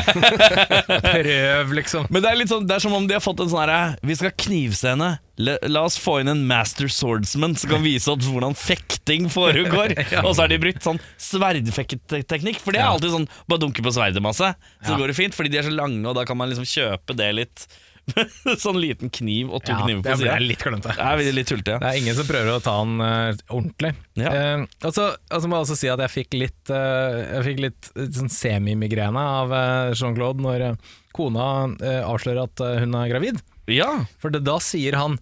Speaker 3: Prøv, liksom.
Speaker 1: Men det er, litt sånn, det er som om de har fått en sånn herre Vi skal knivse henne. La, la oss få inn en master swordsman som kan vise oss hvordan fekting foregår. Og så har de brukt sånn sverdfekteteknikk. For det er alltid sånn bare dunke på sverdet masse, så
Speaker 3: Ja.
Speaker 1: går det fint. Fordi de er så lange, og da kan man liksom kjøpe det litt. sånn liten kniv og to
Speaker 3: Ja,
Speaker 1: kniver
Speaker 3: det
Speaker 1: på
Speaker 3: ble
Speaker 1: sida.
Speaker 3: litt klønete.
Speaker 1: Det er litt tullete.
Speaker 3: Det
Speaker 1: Ja.
Speaker 3: er ingen som prøver å ta han eh, ordentlig.
Speaker 1: Ja.
Speaker 3: Eh, og så og så må jeg også si at jeg fikk litt, eh, jeg fikk litt eh, sånn semimigrene av eh, Jean-Claude når eh, kona eh, avslører at eh, hun er gravid.
Speaker 1: ja.
Speaker 3: For det, da sier han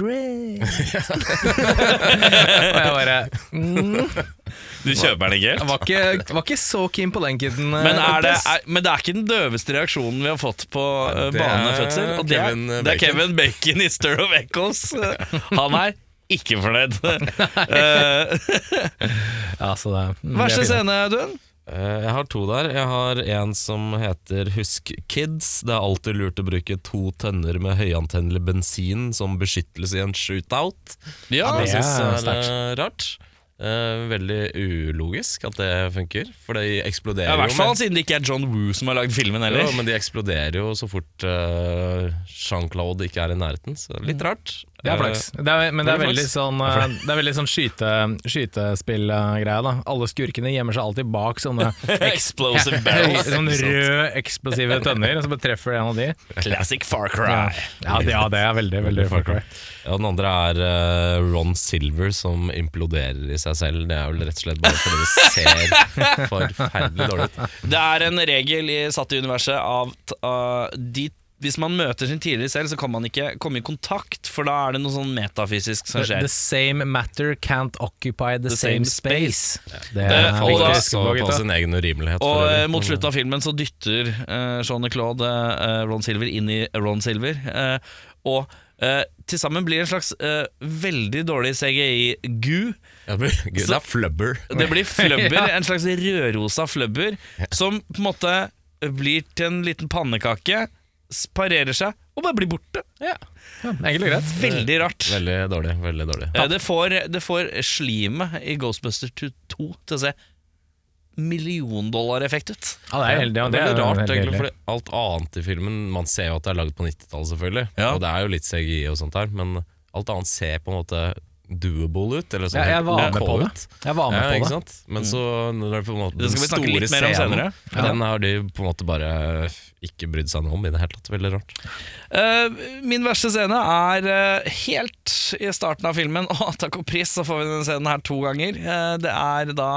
Speaker 3: Great! og jeg bare mm,
Speaker 1: Du kjøper den ikke
Speaker 3: jeg
Speaker 1: helt?
Speaker 3: var ikke, var ikke så keen på den kiden. eh,
Speaker 1: Men, er det,
Speaker 3: Otis.
Speaker 1: er, men det er ikke den døveste reaksjonen vi har fått på eh,
Speaker 4: det er
Speaker 1: barnefødsel. Og det, er-
Speaker 4: Kevin
Speaker 1: det er
Speaker 4: Bacon.
Speaker 1: Kevin Bacon i Stir of Echoes. Han er ikke fornøyd. Eh,
Speaker 3: ja, så det, mm, det er
Speaker 1: Verste
Speaker 3: fint.
Speaker 1: scene, Audun?
Speaker 4: Eh, Jeg har to der. Jeg har en som heter Husk Kids. Det er alltid lurt å bruke to tønner med høyantennelig bensin som beskyttelse i en shootout.
Speaker 1: Ja,
Speaker 4: det
Speaker 3: det
Speaker 4: synes
Speaker 3: er
Speaker 4: jeg er eh, rart. Eh, veldig ulogisk at det funker, for de eksploderer
Speaker 1: I hvert
Speaker 4: jo.
Speaker 1: fall
Speaker 4: med-
Speaker 1: siden det ikke er John Woo som har lagd filmen heller.
Speaker 4: jo, men de eksploderer jo så fort eh, Jean-Claude ikke er i nærheten. Så litt rart.
Speaker 3: Det er flaks. Det er, men det er
Speaker 4: veldig
Speaker 3: veldig
Speaker 4: flaks.
Speaker 3: sånn, eh, det er veldig sånn skyte, skytespillgreie. da Alle skurkene gjemmer seg alltid bak sånne
Speaker 1: Explosive
Speaker 3: høy-
Speaker 1: barrels.
Speaker 3: Sånne røde, eksplosive tønner, og så bare treffer en av de.
Speaker 4: Sånn
Speaker 1: Classic Far Cry.
Speaker 3: Ja, det, ja, det er veldig, veldig Far Cry.
Speaker 4: Ja, den andre er eh, Ron Silver som imploderer i seg selv. Det er vel rett og slett bare fordi det ser forferdelig dårlig ut.
Speaker 1: Det er en regel i satt i universet av t- av de, hvis man møter sin tidligere selv, så kan man ikke komme i kontakt, for da er det noe sånn metafysisk som skjer.
Speaker 3: The same matter can't occupy the, same,
Speaker 1: same
Speaker 3: space. Det
Speaker 1: Eh,
Speaker 3: er
Speaker 1: og da-
Speaker 3: viktig å
Speaker 4: Faller
Speaker 3: huske
Speaker 4: også
Speaker 3: på,
Speaker 4: på
Speaker 3: gutta.
Speaker 4: sin egen urimelighet.
Speaker 1: Og
Speaker 4: for
Speaker 1: eh,
Speaker 4: øvrig.
Speaker 1: mot slutten av filmen så dytter eh, Jean-Claude eh, Ron Silver inn i Ron Silver. eh, og eh, til sammen blir det en slags eh, veldig dårlig CGI-gu.
Speaker 4: Ja, men Gud, det er flubber.
Speaker 1: Det blir flubber, en slags rødrosa flubber, som på en måte blir til en liten pannekake, s- parerer seg og bare blir borte.
Speaker 3: Ja, Egentlig greit.
Speaker 1: Veldig rart.
Speaker 4: Veldig dårlig. veldig dårlig
Speaker 1: Eh, det, får, det får slimet i Ghostbusters 2 til å se milliondollar-effekt ut.
Speaker 3: Ja, det er heldig. Ja, det er
Speaker 4: veldig rart,
Speaker 3: helt
Speaker 4: egentlig,
Speaker 3: heldig.
Speaker 4: fordi alt annet i filmen Man ser jo at det er lagd på 90-tallet, selvfølgelig.
Speaker 1: Ja.
Speaker 4: Og det er jo litt CGI og sånt her, men alt annet ser på en måte doable ut. Eller sånn
Speaker 3: Ja, jeg
Speaker 4: helt
Speaker 3: var med
Speaker 4: ok
Speaker 3: på det.
Speaker 4: ut.
Speaker 3: Jeg var
Speaker 4: Ja,
Speaker 3: med på
Speaker 4: ikke
Speaker 3: det.
Speaker 4: sant? Men så når det er på en måte
Speaker 1: Det skal Mm. vi
Speaker 4: den
Speaker 1: snakke litt
Speaker 4: store
Speaker 1: mer om
Speaker 4: scenen,
Speaker 1: senere.
Speaker 4: Den har de på en måte bare ikke brydd seg noe om i det hele tatt. Veldig rart.
Speaker 1: Eh, min verste scene er eh, helt i starten av filmen. Å, takk og pris, så får vi denne scenen her to ganger. Eh, det er da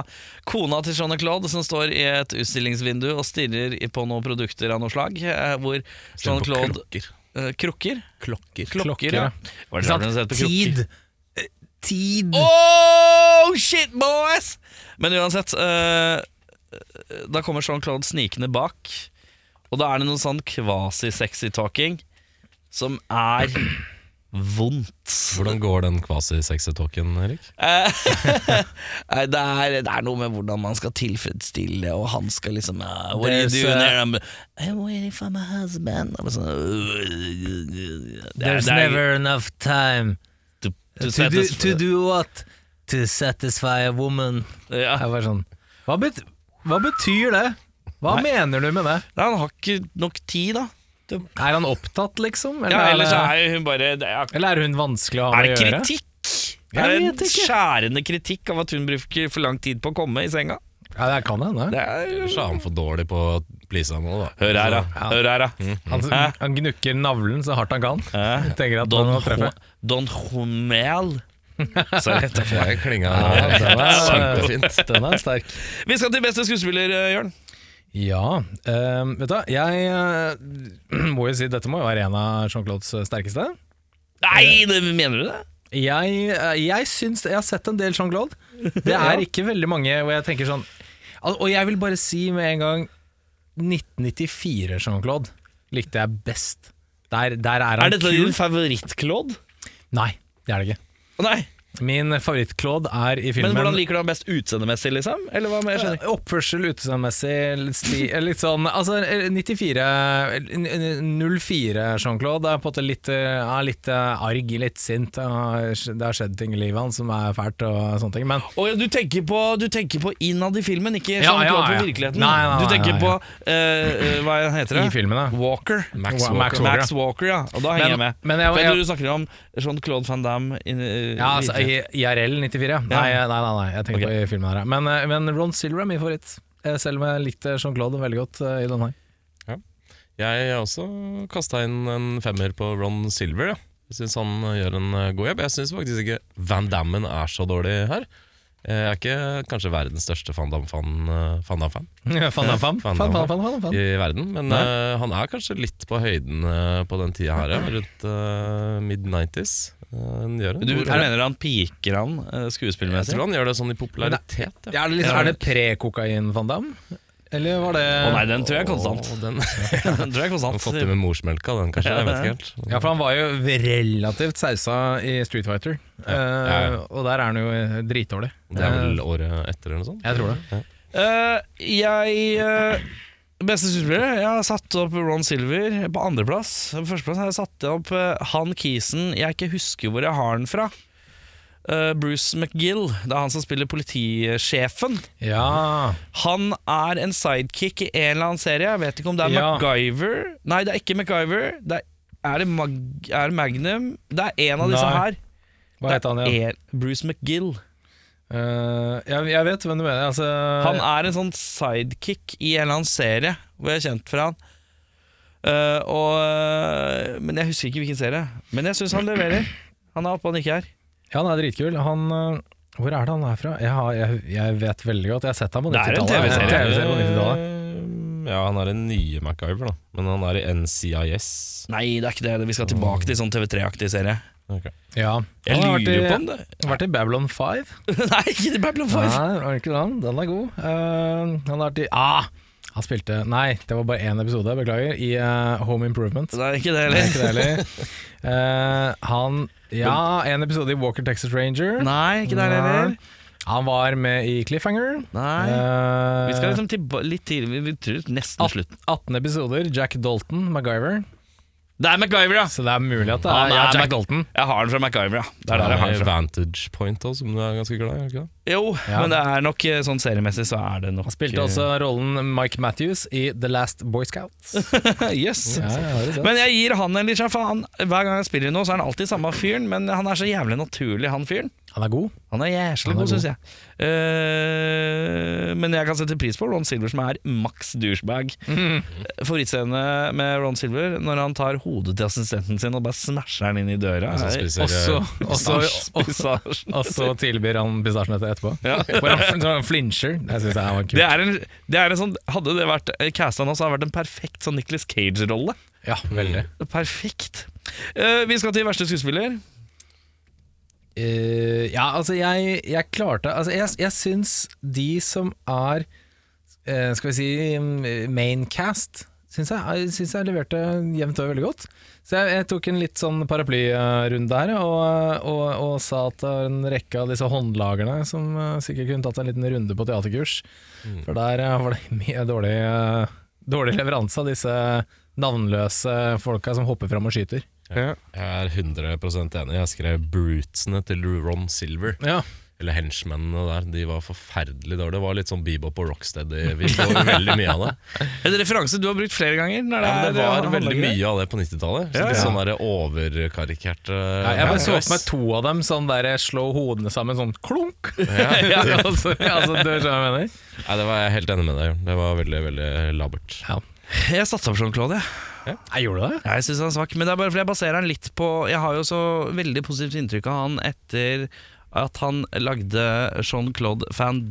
Speaker 1: kona til Jeanne Claude som står i et utstillingsvindu og stirrer i- på noen produkter av noe slag. eh, hvor
Speaker 4: Ser
Speaker 1: Jeanne
Speaker 4: på
Speaker 1: Claude
Speaker 4: klokker.
Speaker 1: eh, Krukker?
Speaker 4: Klokker.
Speaker 1: Klokker,
Speaker 3: ja.
Speaker 1: ja. Hva er det
Speaker 3: Ikke sant?
Speaker 1: rart hun heter på krukker?
Speaker 3: Tid. Eh, Tid.
Speaker 1: Oh, shit, boys! Men uansett, eh, da kommer Jean-Claude snikende bak, og da er det noe sånn kvasi-sexy talking som er vondt.
Speaker 4: Hvordan går den kvasi-sexy-talken, Erik?
Speaker 1: Eh. Nei, det, er, det er noe med hvordan man skal tilfredsstille, og han skal liksom eh, What are you
Speaker 3: There's,
Speaker 1: doing
Speaker 3: eh,
Speaker 1: here? I'm, I'm waiting for my husband. Og sånn, eh, det er-
Speaker 3: There's
Speaker 1: det er-
Speaker 3: never enough time
Speaker 1: to, to,
Speaker 3: to do,
Speaker 1: satisfy-
Speaker 3: to do what? To satisfy a woman.
Speaker 1: ja.
Speaker 3: Jeg var sånn Hva, bet hva betyr det? Hva mener du med det?
Speaker 1: Nei, Han har ikke nok tid, da.
Speaker 3: Er han opptatt, liksom? Eller,
Speaker 1: Ja, ellers
Speaker 3: er,
Speaker 1: er hun bare det er,
Speaker 3: eller er hun vanskelig å ha
Speaker 1: er
Speaker 3: med
Speaker 1: det
Speaker 3: å gjøre?
Speaker 1: kritikk?
Speaker 3: Jeg
Speaker 1: Er det
Speaker 3: vet
Speaker 1: en
Speaker 3: ikke.
Speaker 1: skjærende kritikk av at hun bruker for lang tid på å komme i senga?
Speaker 3: Ja, det kan hende.
Speaker 1: Det er,
Speaker 4: Ellers er han for dårlig på å please henne, da.
Speaker 1: hør her, da. Hør her, da.
Speaker 3: Han, han gnukker navlen så hardt han kan.
Speaker 1: Eh,
Speaker 3: Tenker at
Speaker 1: Don,
Speaker 3: han må
Speaker 1: Ho
Speaker 3: treffe.
Speaker 1: Don Homel. Så rett og slett.
Speaker 4: Det klinga
Speaker 3: den er-
Speaker 4: kjempefint.
Speaker 3: Den er sterk.
Speaker 1: Vi skal til beste skuespiller, eh, Jørn.
Speaker 3: Ja, ehm, vet du hva. Jeg eh, må jo si dette må jo være en av Jean-Claudes eh, sterkeste.
Speaker 1: Nei, det, mener du det?
Speaker 3: Jeg, eh, jeg syns Jeg har sett en del Jean-Claude. Det er ikke veldig mange hvor jeg tenker sånn Al- Og jeg vil bare si med en gang 1994 Jean-Claude likte jeg best. Der, der er han
Speaker 1: Er dette
Speaker 3: kul.
Speaker 1: din favorittklod?
Speaker 3: Nei, det er det ikke.
Speaker 1: Nei,
Speaker 3: Min favorittklod er i
Speaker 1: men
Speaker 3: filmen Eh,
Speaker 1: hvordan liker du ham best utseendemessig, liksom? Eller hva med, jeg skjønner ikke.
Speaker 3: Oppførsel, utseendemessig, litt, sti- eh, litt sånn Altså, eh, 94 n- n- 04 Jean-Claude er på en måte litt, eh, er litt eh, arg, litt sint. Han har- Det har skjedd ting i livet hans som er fælt og sånne ting. Men
Speaker 1: Å ja, du tenker på, du tenker på innad i filmen, ikke
Speaker 3: Ja,
Speaker 1: sånn
Speaker 3: ja,
Speaker 1: klart
Speaker 3: ja.
Speaker 1: på virkeligheten.
Speaker 3: Nei, nei, nei,
Speaker 1: du tenker
Speaker 3: nei,
Speaker 1: på eh, eh, Hva heter det?
Speaker 3: i filmene
Speaker 1: Walker.
Speaker 3: Max
Speaker 1: Wa-
Speaker 3: Walker.
Speaker 1: Max Walker, ja. Og da henger jeg
Speaker 3: Men-
Speaker 1: med.
Speaker 3: men jeg-
Speaker 1: For jeg,
Speaker 3: jeg-
Speaker 1: tror du snakker om Jean-Claude van Damme. In, eh,
Speaker 3: ja, altså,
Speaker 1: virkelig.
Speaker 3: I- IRL 94? Nei, nei, nei, nei jeg tenker på i filmen her. ja. Men, eh, men Ron Silver er min favoritt, eh, selv om jeg likte Jean-Claude veldig godt eh, i denne. her.
Speaker 4: Jeg har også kasta inn en femmer på Ron Silver. Ja. Jeg syns han gjør en eh, god jobb. Jeg syns faktisk ikke Van Dammen er så dårlig her. Eh, Jeg er ikke kanskje verdens største Van Damme-fan eh, Van Damme-fan
Speaker 3: Fan, fan, fan, fan, fan, fan, fan, fan.
Speaker 4: i verden, men eh, han er kanskje litt på høyden eh, på den tida her, ja, rundt eh, mid-90s. Eh, han gjør en
Speaker 1: Du,
Speaker 4: god
Speaker 1: du
Speaker 4: jobb.
Speaker 1: mener han piker han eh,
Speaker 4: Jeg
Speaker 1: skuespillmessig?
Speaker 4: tror
Speaker 1: Å
Speaker 4: han gjør det sånn i popularitet.
Speaker 3: Ja, er det, liksom, er det pre-kokain Van Damme? Eller var det
Speaker 1: nei, den tror jeg er konstant.
Speaker 4: Og den
Speaker 1: Den tror jeg er
Speaker 4: Han har fått
Speaker 1: konstant.
Speaker 4: det med morsmelka, den kanskje. Jeg vet ikke helt.
Speaker 3: Ja, for han var jo relativt sausa i Street Fighter,
Speaker 4: ja, ja.
Speaker 3: Eh, og der er han jo dritdårlig.
Speaker 4: Det er vel
Speaker 3: Eh,
Speaker 4: året etter eller noe sånt?
Speaker 3: jeg tror det.
Speaker 1: Eh, jeg eh, Beste skuespiller? Jeg har satt opp Ron Silver på andreplass. På førsteplass har jeg satt opp eh, han kisen jeg ikke husker hvor jeg har den fra. Eh, Bruce McGill. Det er han som spiller politisjefen.
Speaker 3: Ja,
Speaker 1: Han er en sidekick i en eller annen serie. Jeg vet ikke om det er
Speaker 3: Ja.
Speaker 1: MacGyver Nei, det er ikke MacGyver. Det er, er, det Mag er det Magnum? Det er en av disse
Speaker 3: Nei,
Speaker 1: her.
Speaker 3: hva heter han
Speaker 1: Det
Speaker 3: igjen?
Speaker 1: er E- Bruce McGill.
Speaker 3: Eh, jeg, jeg vet hvem du mener. Altså,
Speaker 1: Han er en sånn sidekick i en eller annen serie hvor jeg er kjent fra han. Eh, og, eh, men jeg husker ikke hvilken serie. Men jeg syns han leverer. Han er oppe, han ikke er.
Speaker 3: ja, han er dritkul. Han eh, Hvor er det han er fra? Jeg, har, jeg, jeg vet veldig godt. Jeg har sett ham på
Speaker 1: Det er en
Speaker 3: 90-tallet.
Speaker 1: TV-serie.
Speaker 3: En TV-serie på 90-tallet.
Speaker 4: Eh, Ja, han er den nye MacGyver, da. Men han er i NCIS.
Speaker 1: Nei, det er ikke det. Vi skal tilbake til sånn TV3-aktig serie.
Speaker 4: Ok.
Speaker 3: Ja.
Speaker 1: Jeg
Speaker 3: Han har vært
Speaker 1: lurer
Speaker 3: i-
Speaker 1: på om det
Speaker 3: Vært i Babylon 5.
Speaker 1: Nei, ikke til Babylon 5.
Speaker 3: Nei, var det ikke den? Den er god. Eh, han har vært i ah, Han spilte Nei, det var bare én episode, beklager. I eh, Home Improvement.
Speaker 1: Det er ikke det
Speaker 3: Det
Speaker 1: heller.
Speaker 3: er ikke det heller. Eh, han Ja, en episode i Walker Texas Ranger.
Speaker 1: Nei, ikke det heller.
Speaker 3: Nei. Han var med i Cliffhanger.
Speaker 1: Nei.
Speaker 3: Eh,
Speaker 1: Vi skal liksom tilba litt tidlig. Vi tror nesten
Speaker 3: at-
Speaker 1: slutten.
Speaker 3: 18 episoder. Jack Dalton, MacGyver.
Speaker 1: Det er MacGyver, ja!
Speaker 3: Så det er mulig at det er,
Speaker 1: Han er
Speaker 3: ja, Jack
Speaker 1: Mac-
Speaker 3: Dalton.
Speaker 1: Jeg har den fra MacGyver, ja. Det er der jeg har
Speaker 4: Han
Speaker 1: den
Speaker 4: er
Speaker 1: fra.
Speaker 4: Vantage Point òg, som du er ganske glad i? er det ikke det?
Speaker 1: Jo,
Speaker 3: Ja.
Speaker 1: men det er nok eh, sånn seriemessig så er det nok eh,
Speaker 3: Han spilte også rollen Mike Matthews i The Last Boy Scouts.
Speaker 1: Yes.
Speaker 3: Ja, jeg har det sett.
Speaker 1: Men jeg gir han en litt sjef. Han, hver gang jeg spiller i noe, så er han alltid samme fyren, men han er så jævlig naturlig, han fyren.
Speaker 3: han er god.
Speaker 1: Han er jæslig
Speaker 3: Han er
Speaker 1: god, syns jeg. Eh, men jeg kan sette pris på Ron Silver, som er maks douchebag.
Speaker 3: Mm.
Speaker 1: Favorittscene med Ron Silver når han tar hodet til assistenten sin og bare smasher den inn i døra.
Speaker 4: Han som
Speaker 1: er-
Speaker 4: spiser,
Speaker 3: Også,
Speaker 4: eh,
Speaker 3: også, også,
Speaker 1: Spisasjen.
Speaker 3: også tilbyr han bistasjenøtter etterpå.
Speaker 1: Ja.
Speaker 3: Hvor han, når han flincher. Jeg synes det var kult.
Speaker 1: Det er en, det er en sånn, hadde det vært eh, casta nå, så hadde det vært en perfekt sånn Nicholas Cage-rolle.
Speaker 3: Ja, veldig.
Speaker 1: Perfekt. Eh, vi skal til verste skuespiller.
Speaker 3: Eh, ja, altså jeg, jeg klarte altså jeg, jeg syns de som er eh, Skal vi si mm, maincast Syns jeg, jeg, synes jeg leverte jevnt over veldig godt. Så jeg, jeg tok en litt sånn paraplyrunde her, og, og, og sa at det var en rekke av disse håndlagerne som eh, sikkert kunne tatt en liten runde på teaterkurs. For der eh, var det mye dårlig, eh, dårlig leveranse av disse navnløse folka som hopper fram og skyter.
Speaker 4: Jeg er 100 enig. Jeg skrev brutesene til Ron Silver.
Speaker 3: Ja,
Speaker 4: Eller henchmennene der. De var forferdelig dårlige. Det var litt sånn bebop og rocksteady. Vi så veldig mye av det.
Speaker 1: En referanse du har brukt flere ganger. Når
Speaker 4: Ja, men det var
Speaker 1: han
Speaker 4: veldig
Speaker 1: handler.
Speaker 4: mye av det på 90-tallet. Så
Speaker 1: Ja,
Speaker 4: litt
Speaker 1: ja.
Speaker 4: Sånn der overkarikerte
Speaker 3: Ja, jeg bare så
Speaker 4: bad
Speaker 3: for meg
Speaker 4: guys.
Speaker 3: to av dem sånn der slå hodene sammen sånn klunk. Ja, altså, ja, altså, du skjønner hva jeg mener?
Speaker 4: Nei, det var jeg helt enig med deg. Det var veldig, veldig labert.
Speaker 1: Jeg satte opp Jean-Claude. jeg.
Speaker 3: Jeg gjorde det.
Speaker 1: Jeg syns han er svak. Men det er bare fordi jeg baserer han litt på Jeg har jo så veldig positivt inntrykk av han etter at han lagde Jean-Claude Van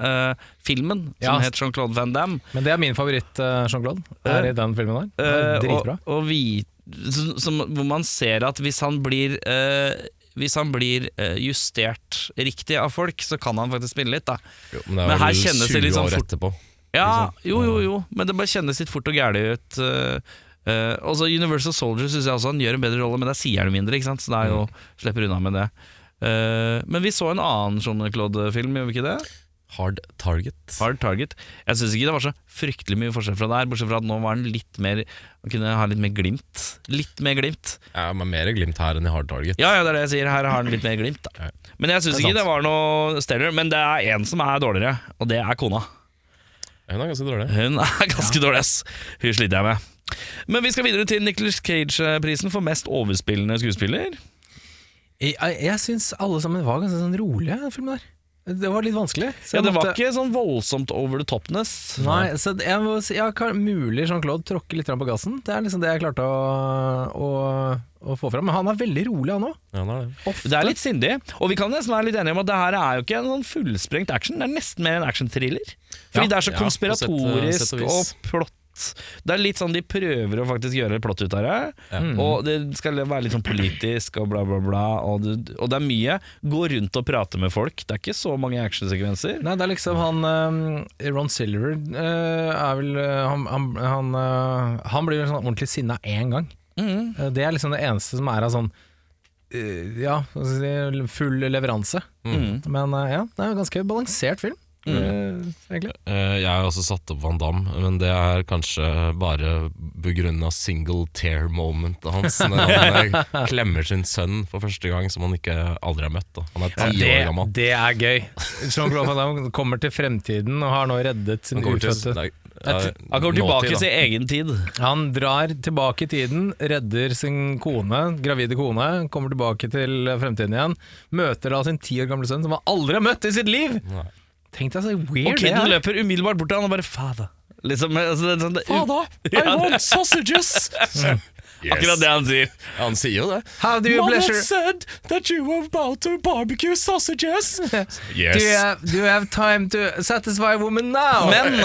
Speaker 1: Damme-filmen,
Speaker 3: Ja.
Speaker 1: som het Jean-Claude Van Damme.
Speaker 3: Men det er min favoritt, eh, Jean-Claude, er i den filmen der. Den
Speaker 1: Eh,
Speaker 3: er Dritbra.
Speaker 1: Og, og vi, som, som, hvor man ser at hvis han blir eh, hvis han blir eh, justert riktig av folk, så kan han faktisk spille litt, da.
Speaker 4: Jo, men det
Speaker 1: Men
Speaker 4: er
Speaker 1: her
Speaker 4: vel
Speaker 1: kjennes det
Speaker 4: 20
Speaker 1: litt sånn
Speaker 4: år
Speaker 1: fort-
Speaker 4: etterpå.
Speaker 1: Ja, jo, jo, jo, men det bare kjennes litt fort og gæli ut. eh, Eh, også Universal Soldier synes jeg også han gjør en bedre rolle, men der sier han mindre, ikke sant? så det er jo slipper unna med det. Eh, men vi så en annen Jean-Claude-film, gjorde vi ikke det?
Speaker 4: Hard Target.
Speaker 1: Hard Target. Jeg syns ikke det var så fryktelig mye forskjell fra der, bortsett fra at nå var den litt mer Han kunne ha litt mer glimt. Litt mer glimt.
Speaker 4: Ja, men Mer glimt her enn i Hard Target.
Speaker 1: Ja, ja, det er det jeg sier. Her har den litt mer glimt. Da. Men jeg syns
Speaker 4: Det er
Speaker 1: ikke det var noe stellar. Men det er én som er dårligere, og det er kona.
Speaker 4: Hun er ganske dårlig.
Speaker 1: Hun er ganske dårlig, ass. Hun sliter jeg med. Men vi skal videre til Nicholas Cage-prisen for mest overspillende skuespiller.
Speaker 3: Jeg, jeg, jeg syns alle sammen var ganske sånn rolige, den filmen der. Det var litt vanskelig. så
Speaker 1: Ja,
Speaker 3: jeg
Speaker 1: Det var
Speaker 3: måtte-
Speaker 1: ikke sånn voldsomt over the topness.
Speaker 3: Nei, så jeg må si jeg kan, Mulig Jean-Claude tråkker litt grann på gassen. Det er liksom det jeg klarte å, å, å få fram. Men han er veldig rolig, han òg.
Speaker 4: Ja, det er det.
Speaker 1: Det er litt sindig, og vi kan nesten være litt enige om at det her er jo ikke en sånn fullsprengt action, det er nesten mer en action-thriller. Fordi
Speaker 4: Ja,
Speaker 1: det er så
Speaker 4: ja, på sett-
Speaker 1: konspiratorisk
Speaker 4: sett og
Speaker 1: og,
Speaker 4: vis.
Speaker 1: plott. Det er litt sånn de prøver å faktisk gjøre et plott ut av det, Mm. og det skal være litt sånn politisk og bla, bla, bla. Og det, og det er mye gå rundt og prate med folk. Det er ikke så mange actionsekvenser.
Speaker 3: Nei, det er liksom han eh, Ron Silver eh, er vel eh, Han, han, han, eh, han blir vel sånn ordentlig sinna én gang.
Speaker 4: Mm,
Speaker 3: Eh, det er liksom det eneste som er av sånn eh, Ja, hva skal jeg si, full leveranse.
Speaker 4: mm.
Speaker 1: Mm.
Speaker 3: Men eh, ja, det er jo en ganske balansert film, eh, egentlig.
Speaker 4: Eh, jeg har også satt opp Van Damme, men det er kanskje bare begrunna single tear momentet hans. Når han eh, klemmer sin sønn for første gang, som han ikke aldri har møtt. Da. Han er ti år
Speaker 3: det,
Speaker 4: gammel.
Speaker 3: det er gøy. Jean-Claude Van Damme kommer til fremtiden og har nå reddet sin
Speaker 4: Han kommer til,
Speaker 3: ufødte
Speaker 4: nei, eh,
Speaker 1: Han kommer tilbake
Speaker 4: nåtid, da.
Speaker 1: til egen tid.
Speaker 3: Han drar tilbake i tiden, redder sin kone, gravide kone, kommer tilbake til fremtiden igjen. Møter da sin ti år gamle sønn, som han aldri har møtt i sitt liv!
Speaker 4: Nei.
Speaker 3: Tenk deg så weird
Speaker 1: Og
Speaker 3: det
Speaker 1: kiden
Speaker 3: er.
Speaker 1: løper umiddelbart bort til han og bare fader. Liksom, altså, det, er sånn, det,
Speaker 4: I want sausages!
Speaker 1: akkurat det han sier.
Speaker 4: Han sier jo det.
Speaker 3: How do you pleasure?
Speaker 4: said that you were about to barbecue sausages. Yes.
Speaker 3: Do you, have, do you have time to satisfy woman now?
Speaker 1: Men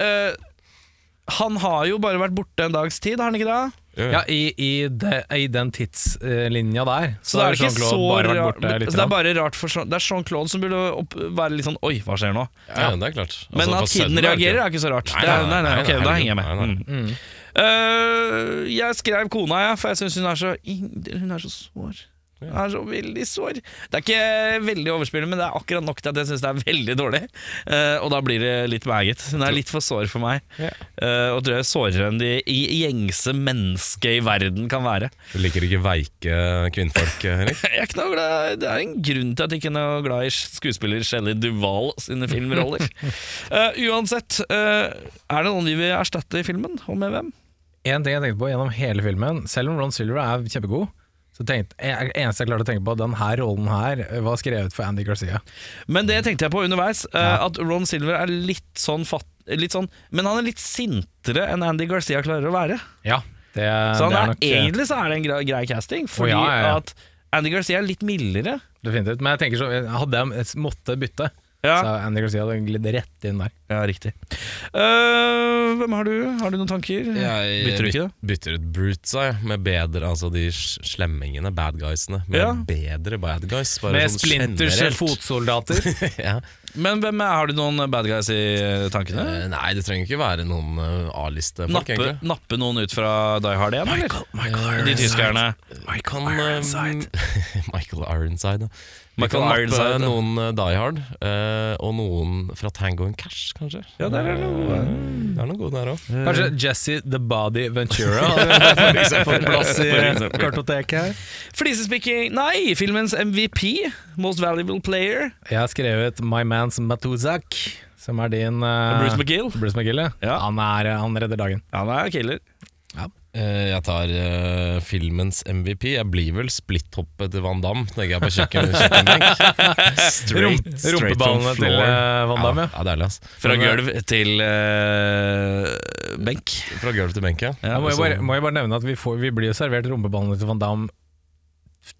Speaker 1: eh, han har jo bare vært borte en dags tid, har han ikke det?
Speaker 3: ja, i, i, de, I den tidslinja der, så,
Speaker 1: Så det
Speaker 3: har
Speaker 1: er ikke så
Speaker 3: Jean-Claude bare vært
Speaker 1: rart.
Speaker 3: borte
Speaker 1: men-
Speaker 3: litt.
Speaker 1: så det er bare rart for Jean- Det er Jean-Claude som burde opp, være litt sånn Oi, hva skjer nå?
Speaker 4: ja, det er klart.
Speaker 1: Men
Speaker 4: Altså, for
Speaker 1: at kiden
Speaker 4: sønnen er det ikke-
Speaker 1: reagerer, er ikke så rart.
Speaker 4: Nei,
Speaker 1: Det er-
Speaker 4: nei, nei,
Speaker 1: ok,
Speaker 4: nei,
Speaker 1: Da henger jeg med.
Speaker 4: nei, nei.
Speaker 1: Mm. Eh, jeg skrev kona, jeg, for jeg syns hun er så ing- Hun er så sår. Hun er så veldig sår. Det er ikke veldig overspillende, men det er akkurat nok til at jeg syns det er veldig dårlig. Eh, og da blir det litt meget. Hun er litt for sår for meg. Eh, og tror jeg er sårere enn de i- gjengse mennesket i verden kan være.
Speaker 4: Du liker ikke veike kvinnfolk, eh, Henrik?
Speaker 1: Jeg er ikke noe glad Det er en grunn til at jeg ikke er noe glad i skuespiller Shelley Duvall sine filmroller. Eh, uansett, eh, er det noen vi vil erstatte i filmen, og med hvem?
Speaker 3: En ting jeg tenkte på gjennom hele filmen, selv om Ron Silver er kjempegod, så tenkte, jeg- eneste jeg klarte å tenke på, den her rollen her eh, var skrevet for Andy Garcia.
Speaker 1: Men det tenkte jeg på underveis, eh, at Ron Silver er litt sånn fatt... Litt sånn, men han er litt sintere enn Andy Garcia klarer å være.
Speaker 3: Ja, det,
Speaker 1: Så han
Speaker 3: det er
Speaker 1: er
Speaker 3: nok eh,
Speaker 1: egentlig så er det en grei, grei casting, fordi
Speaker 3: ja, ja, ja.
Speaker 1: at Andy Garcia er litt mildere.
Speaker 3: definitivt. Men jeg tenker så, hadde jeg måttet bytte,
Speaker 1: Ja.
Speaker 3: så hadde Andy Garcia hadde glidd rett inn der.
Speaker 1: Ja, riktig. Eh, hvem har du? Har du noen tanker? Bytter du ikke det?
Speaker 4: Bytter ut brutes, jeg. Med bedre, altså de s- slemmingene, bad guysene. Med
Speaker 1: Ja.
Speaker 4: bedre bad guys. Bare
Speaker 3: Med
Speaker 4: sånn
Speaker 3: splinters
Speaker 4: generelt.
Speaker 3: fotsoldater.
Speaker 4: ja.
Speaker 1: Men hvem er, har du noen bad guys i eh, tankene?
Speaker 4: Eh, Nei, det trenger ikke være noen eh, A-liste folk,
Speaker 1: Nappe,
Speaker 4: egentlig.
Speaker 1: nappe noen ut fra Die Hard igjen, eller? De tyskerne.
Speaker 4: Kan, eh, um, Michael Ironside, ja. Vi
Speaker 1: Michael
Speaker 4: kan nappe
Speaker 1: Ironside, ja.
Speaker 4: noen eh, Die Hard, eh, og noen fra Tango and Cash, kanskje.
Speaker 1: Ja, der er det noe.
Speaker 4: Det er noe god der òg.
Speaker 3: Kanskje Jesse the Body Ventura hadde fått plass i kartoteket her.
Speaker 1: Flisespikking Nei, filmens MVP, Most Valuable Player,
Speaker 3: Jeg har skrevet My Man's Matuzak, som er din eh,
Speaker 1: Bruce McGill.
Speaker 3: Bruce McGill, ja.
Speaker 1: Ja.
Speaker 3: Han, er, eh, han redder dagen.
Speaker 1: Ja, Ah. han er killer.
Speaker 4: Jeg tar eh, filmens MVP. Jeg blir vel splitthoppet til Van Damme, tenker jeg på kjøkken, kjøkkenbenk. Straight,
Speaker 3: Rump-
Speaker 4: straight
Speaker 3: Rumpeballene
Speaker 4: from
Speaker 3: til
Speaker 4: floor.
Speaker 3: eh, Van Damme, ja.
Speaker 4: Ja, deilig, ass.
Speaker 1: Fra
Speaker 4: Men, eh,
Speaker 1: gulv til eh, benk.
Speaker 4: Fra gulv til benk, ja.
Speaker 1: Ja,
Speaker 3: Jeg må,
Speaker 4: Og
Speaker 3: jo
Speaker 4: så-
Speaker 3: bare, må jeg bare nevne at vi, får, vi blir jo servert rumpeballene til Van Damme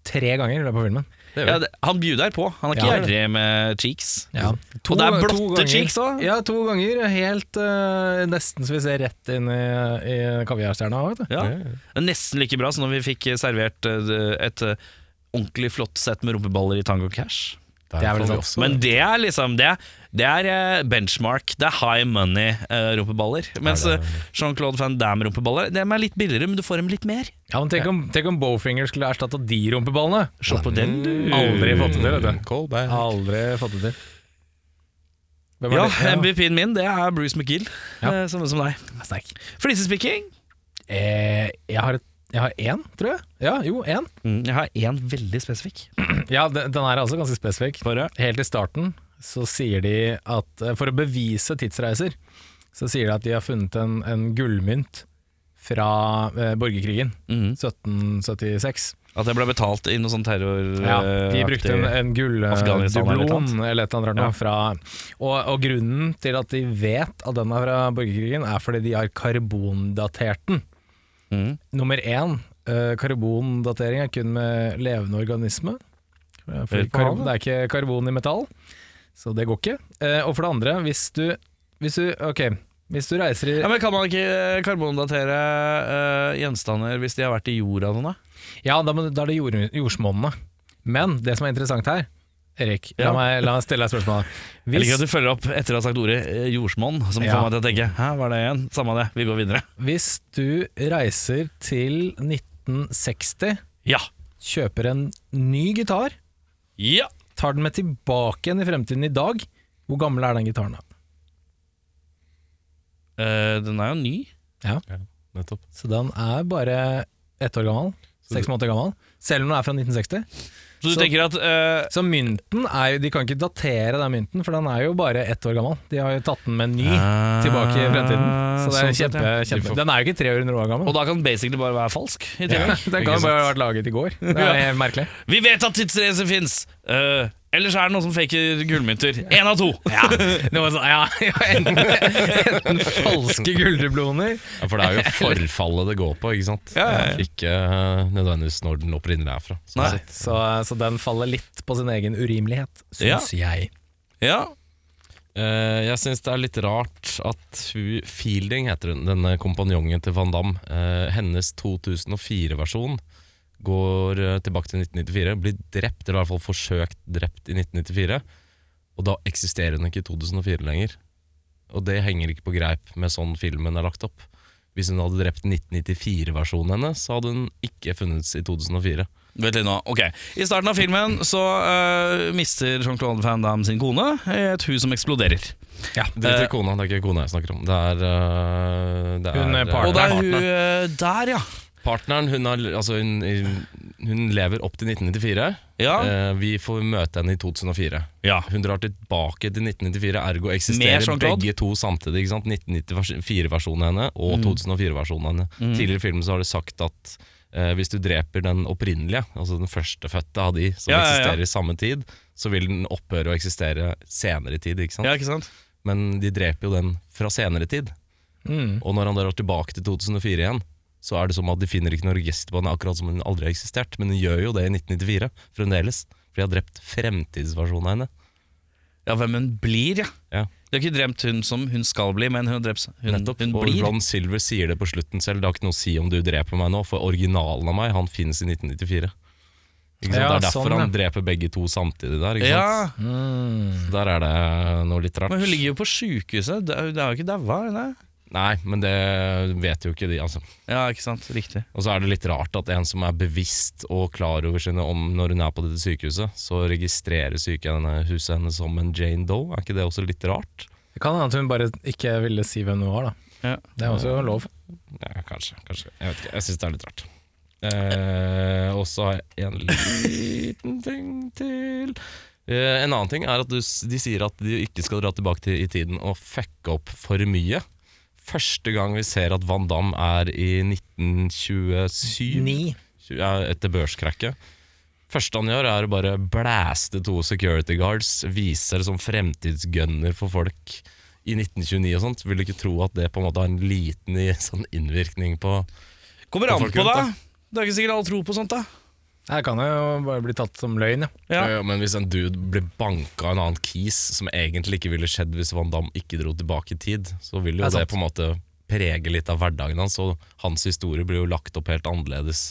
Speaker 3: tre ganger i løpet av filmen.
Speaker 4: det gjør
Speaker 1: Ja,
Speaker 4: vi.
Speaker 1: det, han bjuder på. Han er ikke
Speaker 3: Ja.
Speaker 1: gjerrig med cheeks.
Speaker 3: Mm. To-
Speaker 1: Og det er
Speaker 3: to
Speaker 1: blotte
Speaker 3: ganger-
Speaker 1: cheeks også.
Speaker 3: Ja, to ganger. Helt eh, nesten så vi ser rett inn i, i kaviarstjerna. vet du.
Speaker 1: Ja.
Speaker 4: Ja, ja.
Speaker 1: Det er nesten like bra som når vi fikk eh, servert eh, et eh, ordentlig flott sett med rumpeballer i Tango Cash.
Speaker 3: Det er vel sånn.
Speaker 4: får vi
Speaker 3: sant.
Speaker 4: også.
Speaker 1: Men det er liksom Det, det er eh, benchmark. Det er high money-rumpeballer. Mens eh, Jean-Claude Van Damme-rumpeballer De er litt billigere, men du får dem litt mer.
Speaker 3: Ja, men tenk om, tenk om Bowfinger skulle erstatta de rumpeballene!
Speaker 1: Se på den, du.
Speaker 3: Mm. Aldri fått det til, vet du.
Speaker 4: Callback.
Speaker 3: Aldri fått det til. Hvem
Speaker 1: Ja,
Speaker 3: Ja,
Speaker 1: MVP-en min det er Bruce McGill,
Speaker 3: Ja.
Speaker 1: eh, samme som deg.
Speaker 3: Sterk.
Speaker 1: Flisespikking.
Speaker 3: Eh, jeg har et- jeg har én, tror jeg. Ja, jo, én.
Speaker 1: Mm, jeg har én veldig spesifikk.
Speaker 3: Ja, den, den er altså ganske spesifikk. Helt i starten så sier de at eh, for å bevise tidsreiser, så sier de at de har funnet en, en gullmynt fra eh, borgerkrigen.
Speaker 1: Mhm.
Speaker 3: 1776.
Speaker 1: At jeg ble betalt i noe sånn terror...
Speaker 3: Ja, de
Speaker 1: eh,
Speaker 3: brukte en,
Speaker 1: aktig-
Speaker 3: en
Speaker 1: Afghanistan eller et eller annet.
Speaker 3: gulldublon eller et eller annet.
Speaker 1: Ja.
Speaker 3: rart nå Fra, og, og grunnen til at de vet at den er fra borgerkrigen, er fordi de har karbondatert den.
Speaker 1: Mhm.
Speaker 3: Nummer én, eh, karbondatering er kun med levende organisme. Eh, Fordi
Speaker 1: Helt på
Speaker 3: kar
Speaker 1: havet.
Speaker 3: det er ikke karbon i metall, så det går ikke. Eh, og for det andre, hvis du, hvis du Ok, hvis du reiser i
Speaker 1: Ja, men Kan man ikke eh, karbondatere eh, gjenstander hvis de har vært i jorda noen, da?
Speaker 3: Ja, da, må, du- da er det jord, jordsmonnene. Men det som er interessant her, Erik, la,
Speaker 1: Ja.
Speaker 3: meg, la meg stille deg spørsmålet.
Speaker 1: Jeg liker at du følger opp etter å ha sagt ordet eh, jordsmonn, som
Speaker 3: Ja.
Speaker 1: får meg til å tenke hæ, hva er det igjen? Samme det, vi går videre.
Speaker 3: Hvis du reiser til 1960,
Speaker 1: Ja.
Speaker 3: kjøper en ny gitar,
Speaker 1: Ja.
Speaker 3: tar den med tilbake igjen i fremtiden i dag, hvor gammel er den gitaren da?
Speaker 1: Eh, den er jo ny.
Speaker 4: Ja, nettopp.
Speaker 3: Så den er bare ett år gammel, seks måneder gammel, selv om den er fra 1960.
Speaker 1: Så du
Speaker 3: Så-
Speaker 1: tenker at eh,
Speaker 3: Så mynten er jo, de kan ikke datere den mynten, for den er jo bare ett år gammel. De har jo tatt den med en ny
Speaker 1: Ah,
Speaker 3: tilbake i fremtiden. Så det er
Speaker 1: sånn sett,
Speaker 3: kjempe, kjempe. Den er jo ikke 300 år gammel.
Speaker 1: Og da kan den basically bare være falsk. I tillegg.
Speaker 3: Den kan jo bare ha vært laget i går. Det er helt merkelig.
Speaker 1: Vi vet at tidsreiser fins! Eh, ellers er det noen som faker gullmynter. Én av to! Ja.
Speaker 3: Det var sånn, ja, ja enten, enten falske gulldubloner
Speaker 4: Ja, for det er jo forfallet det går på, ikke sant?
Speaker 1: Ja, ja, ja.
Speaker 4: Ikke eh, nødvendigvis når den opprinnelig er fra. sånn
Speaker 1: Nei.
Speaker 4: sett.
Speaker 3: så, så den faller litt på sin egen urimelighet, syns jeg.
Speaker 1: ja.
Speaker 4: Eh, jeg syns det er litt rart at hun Fielding heter hun, denne kompanjongen til Van Damme. eh, hennes 2004-versjon går eh, tilbake til 1994, blir drept, eller i hvert fall forsøkt drept i 1994. Og da eksisterer hun ikke i 2004 lenger. Og det henger ikke på greip med sånn filmen er lagt opp. Hvis hun hadde drept 1994-versjonen hennes, så hadde hun ikke funnets i 2004.
Speaker 1: Vent litt nå. Ok. I starten av filmen så eh, mister Jean-Claude Van Damme sin kone i et hus som eksploderer.
Speaker 4: Drit
Speaker 1: Eh,
Speaker 4: i kona, det er ikke kona jeg snakker om. Det er, øh, det
Speaker 3: Hun er
Speaker 4: øh,
Speaker 3: partner.
Speaker 1: Og det er hun
Speaker 4: partneren.
Speaker 1: eh, der, ja.
Speaker 4: Partneren, hun, har- altså, hun, hun lever opp til 1994.
Speaker 1: Ja.
Speaker 4: Eh, vi får møte henne i 2004.
Speaker 1: ja.
Speaker 4: Hun drar tilbake til 1994, ergo
Speaker 1: Med
Speaker 4: eksisterer
Speaker 1: Jean-Claude?
Speaker 4: begge to samtidig. ikke sant? 1994-versjonen henne og
Speaker 1: Mm.
Speaker 4: 2004-versjonen henne. Tidligere i filmen så har du sagt at eh, hvis du dreper den opprinnelige, altså den førstefødte av de som
Speaker 1: Ja, ja, ja.
Speaker 4: eksisterer i samme tid, så vil den opphøre å eksistere senere i tid. ikke sant?
Speaker 1: Ja, ikke sant?
Speaker 4: men de dreper jo den fra senere tid.
Speaker 1: Mm.
Speaker 4: Og når han drar tilbake til 2004 igjen, så er det som at de finner ikke noe register på henne, akkurat som hun aldri har eksistert. Men hun gjør jo det i 1994 fremdeles, for de har drept fremtidsversjonen av henne.
Speaker 1: Ja, hvem hun blir, ja.
Speaker 4: Ja.
Speaker 1: De har ikke drept hun som hun skal bli, men hun har drept hun,
Speaker 4: Nettopp.
Speaker 1: hun
Speaker 4: og
Speaker 1: blir.
Speaker 4: Ron Silver sier det på slutten selv, det har ikke noe å si om du dreper meg nå, for originalen av meg, han finnes i 1994. Ikke sant?
Speaker 3: Ja,
Speaker 4: det er derfor
Speaker 3: sånn, ja.
Speaker 4: han dreper begge to samtidig der. Ikke
Speaker 1: Ja,
Speaker 4: sant? Så Der er det noe litt rart.
Speaker 1: men hun ligger jo på sjukehuset. Det er det er jo ikke daua, er hun det?
Speaker 4: Nei, men det vet jo ikke de, altså.
Speaker 1: Ja, ikke sant. Riktig.
Speaker 4: Og så er det litt rart at en som er bevisst og klar over sine om når hun er på dette sykehuset, så registrerer sykehuset henne som en Jane Doe. Er ikke det også litt rart?
Speaker 3: Det kan hende at hun bare ikke ville si hvem hun var, da.
Speaker 1: Ja.
Speaker 3: Det er også lov.
Speaker 4: Ja, kanskje. kanskje. Jeg vet ikke. Jeg syns det er litt rart. Eh, og så har jeg en liten ting til. Eh, en annen ting er at du, s- de sier at de ikke skal dra tilbake til, i tiden og fucke opp for mye. Første gang vi ser at Van Damme er i 1927
Speaker 3: Ni.
Speaker 4: ja, etter børskrekket. Første han gjør, er å bare blæste to security guards, vise det som fremtidsgunner for folk i 1929 og sånt. Vil du ikke tro at det på en måte har en liten i, sånn innvirkning på
Speaker 1: Kommer
Speaker 4: Og
Speaker 1: an
Speaker 4: folk
Speaker 1: på,
Speaker 4: rundt,
Speaker 1: da. Det er ikke sikkert alle tror på sånt, da.
Speaker 3: Her kan jeg jo bare bli tatt som løgn, ja.
Speaker 1: Ja.
Speaker 4: Ja, ja, Men hvis en dude blir banka av en annen kis, som egentlig ikke ville skjedd hvis Van Damme ikke dro tilbake i tid, så vil jo
Speaker 3: Det er
Speaker 4: det,
Speaker 3: sant.
Speaker 4: på en måte prege litt av hverdagen hans, og hans historie blir jo lagt opp helt annerledes.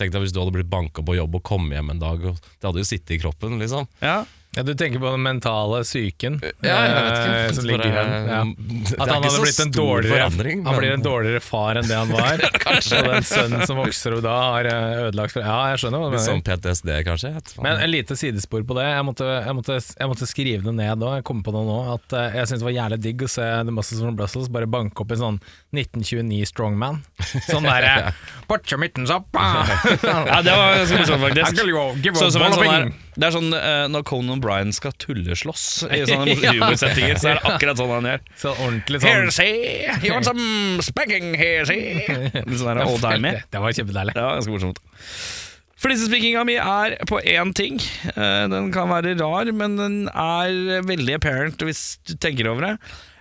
Speaker 4: Tenk deg hvis du hadde blitt banka på jobb og kom hjem en dag, og det hadde jo sittet i kroppen, liksom.
Speaker 1: Ja.
Speaker 3: Ja, du tenker på den mentale psyken eh,
Speaker 4: Jeg synes
Speaker 3: som ligger i
Speaker 4: bare-
Speaker 3: den. Ja.
Speaker 4: Mm. Det er
Speaker 3: At han hadde
Speaker 4: ikke så
Speaker 3: blitt en
Speaker 4: stor
Speaker 3: dårligere,
Speaker 4: forandring,
Speaker 3: han
Speaker 4: men-
Speaker 3: blir en dårligere far enn det han var. Og den sønnen som vokser opp da, har eh, ødelagt for Ja, jeg skjønner hva du
Speaker 4: Litt sånn
Speaker 3: mener.
Speaker 4: PTSD, kanskje. Jeg vet faen.
Speaker 3: Men en lite sidespor på det. Jeg måtte, jeg måtte, jeg måtte skrive det ned da. Jeg kom på det nå. At eh, jeg syntes det var jævlig digg å se The Muscles from Brussels bare banke opp en sånn 1929 Strongman. Sånn derre Butcher mittens opp! ah!"
Speaker 1: Ja, det var ganske morsomt,
Speaker 3: I
Speaker 1: faktisk.
Speaker 3: give you- give you
Speaker 1: Så,
Speaker 3: a
Speaker 1: som en
Speaker 3: ball of
Speaker 1: sånn her,
Speaker 3: wing.
Speaker 1: det er sånn eh, når Conan Bryan skal tulleslåss i sånne
Speaker 3: Ja.
Speaker 1: humorsettinger, så er det akkurat sånn han gjør.
Speaker 3: Sånn ordentlig sånn
Speaker 1: Here, see, you want some spanking here, see. Litt sånn der old timey.
Speaker 3: Det, det var kjempedeilig.
Speaker 1: Det var ganske morsomt. Flisespikinga mi er på én ting. Eh, Den kan være rar, men den er veldig apparent hvis du tenker over det.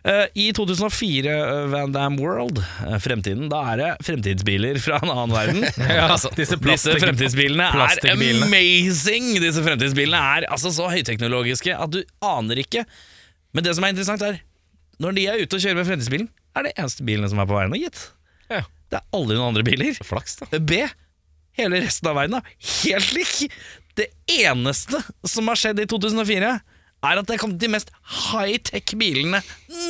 Speaker 1: Eh, I 2004, eh, Van Damme World, eh, fremtiden, da er det fremtidsbiler fra en annen verden.
Speaker 3: Ja, disse
Speaker 1: Disse
Speaker 3: plastikk-
Speaker 1: fremtidsbilene er
Speaker 3: plastikkbilene.
Speaker 1: amazing! Disse fremtidsbilene er altså så høyteknologiske at du aner ikke. Men det som er interessant, er når de er ute og kjører med fremtidsbilen, er det eneste bilene som er på veiene, gitt.
Speaker 4: Ja.
Speaker 1: Det er aldri noen andre biler.
Speaker 4: Flaks, da.
Speaker 1: B. Hele resten av verden er helt lik. Det eneste som har skjedd i 2004, er at det kom de mest high-tech-bilene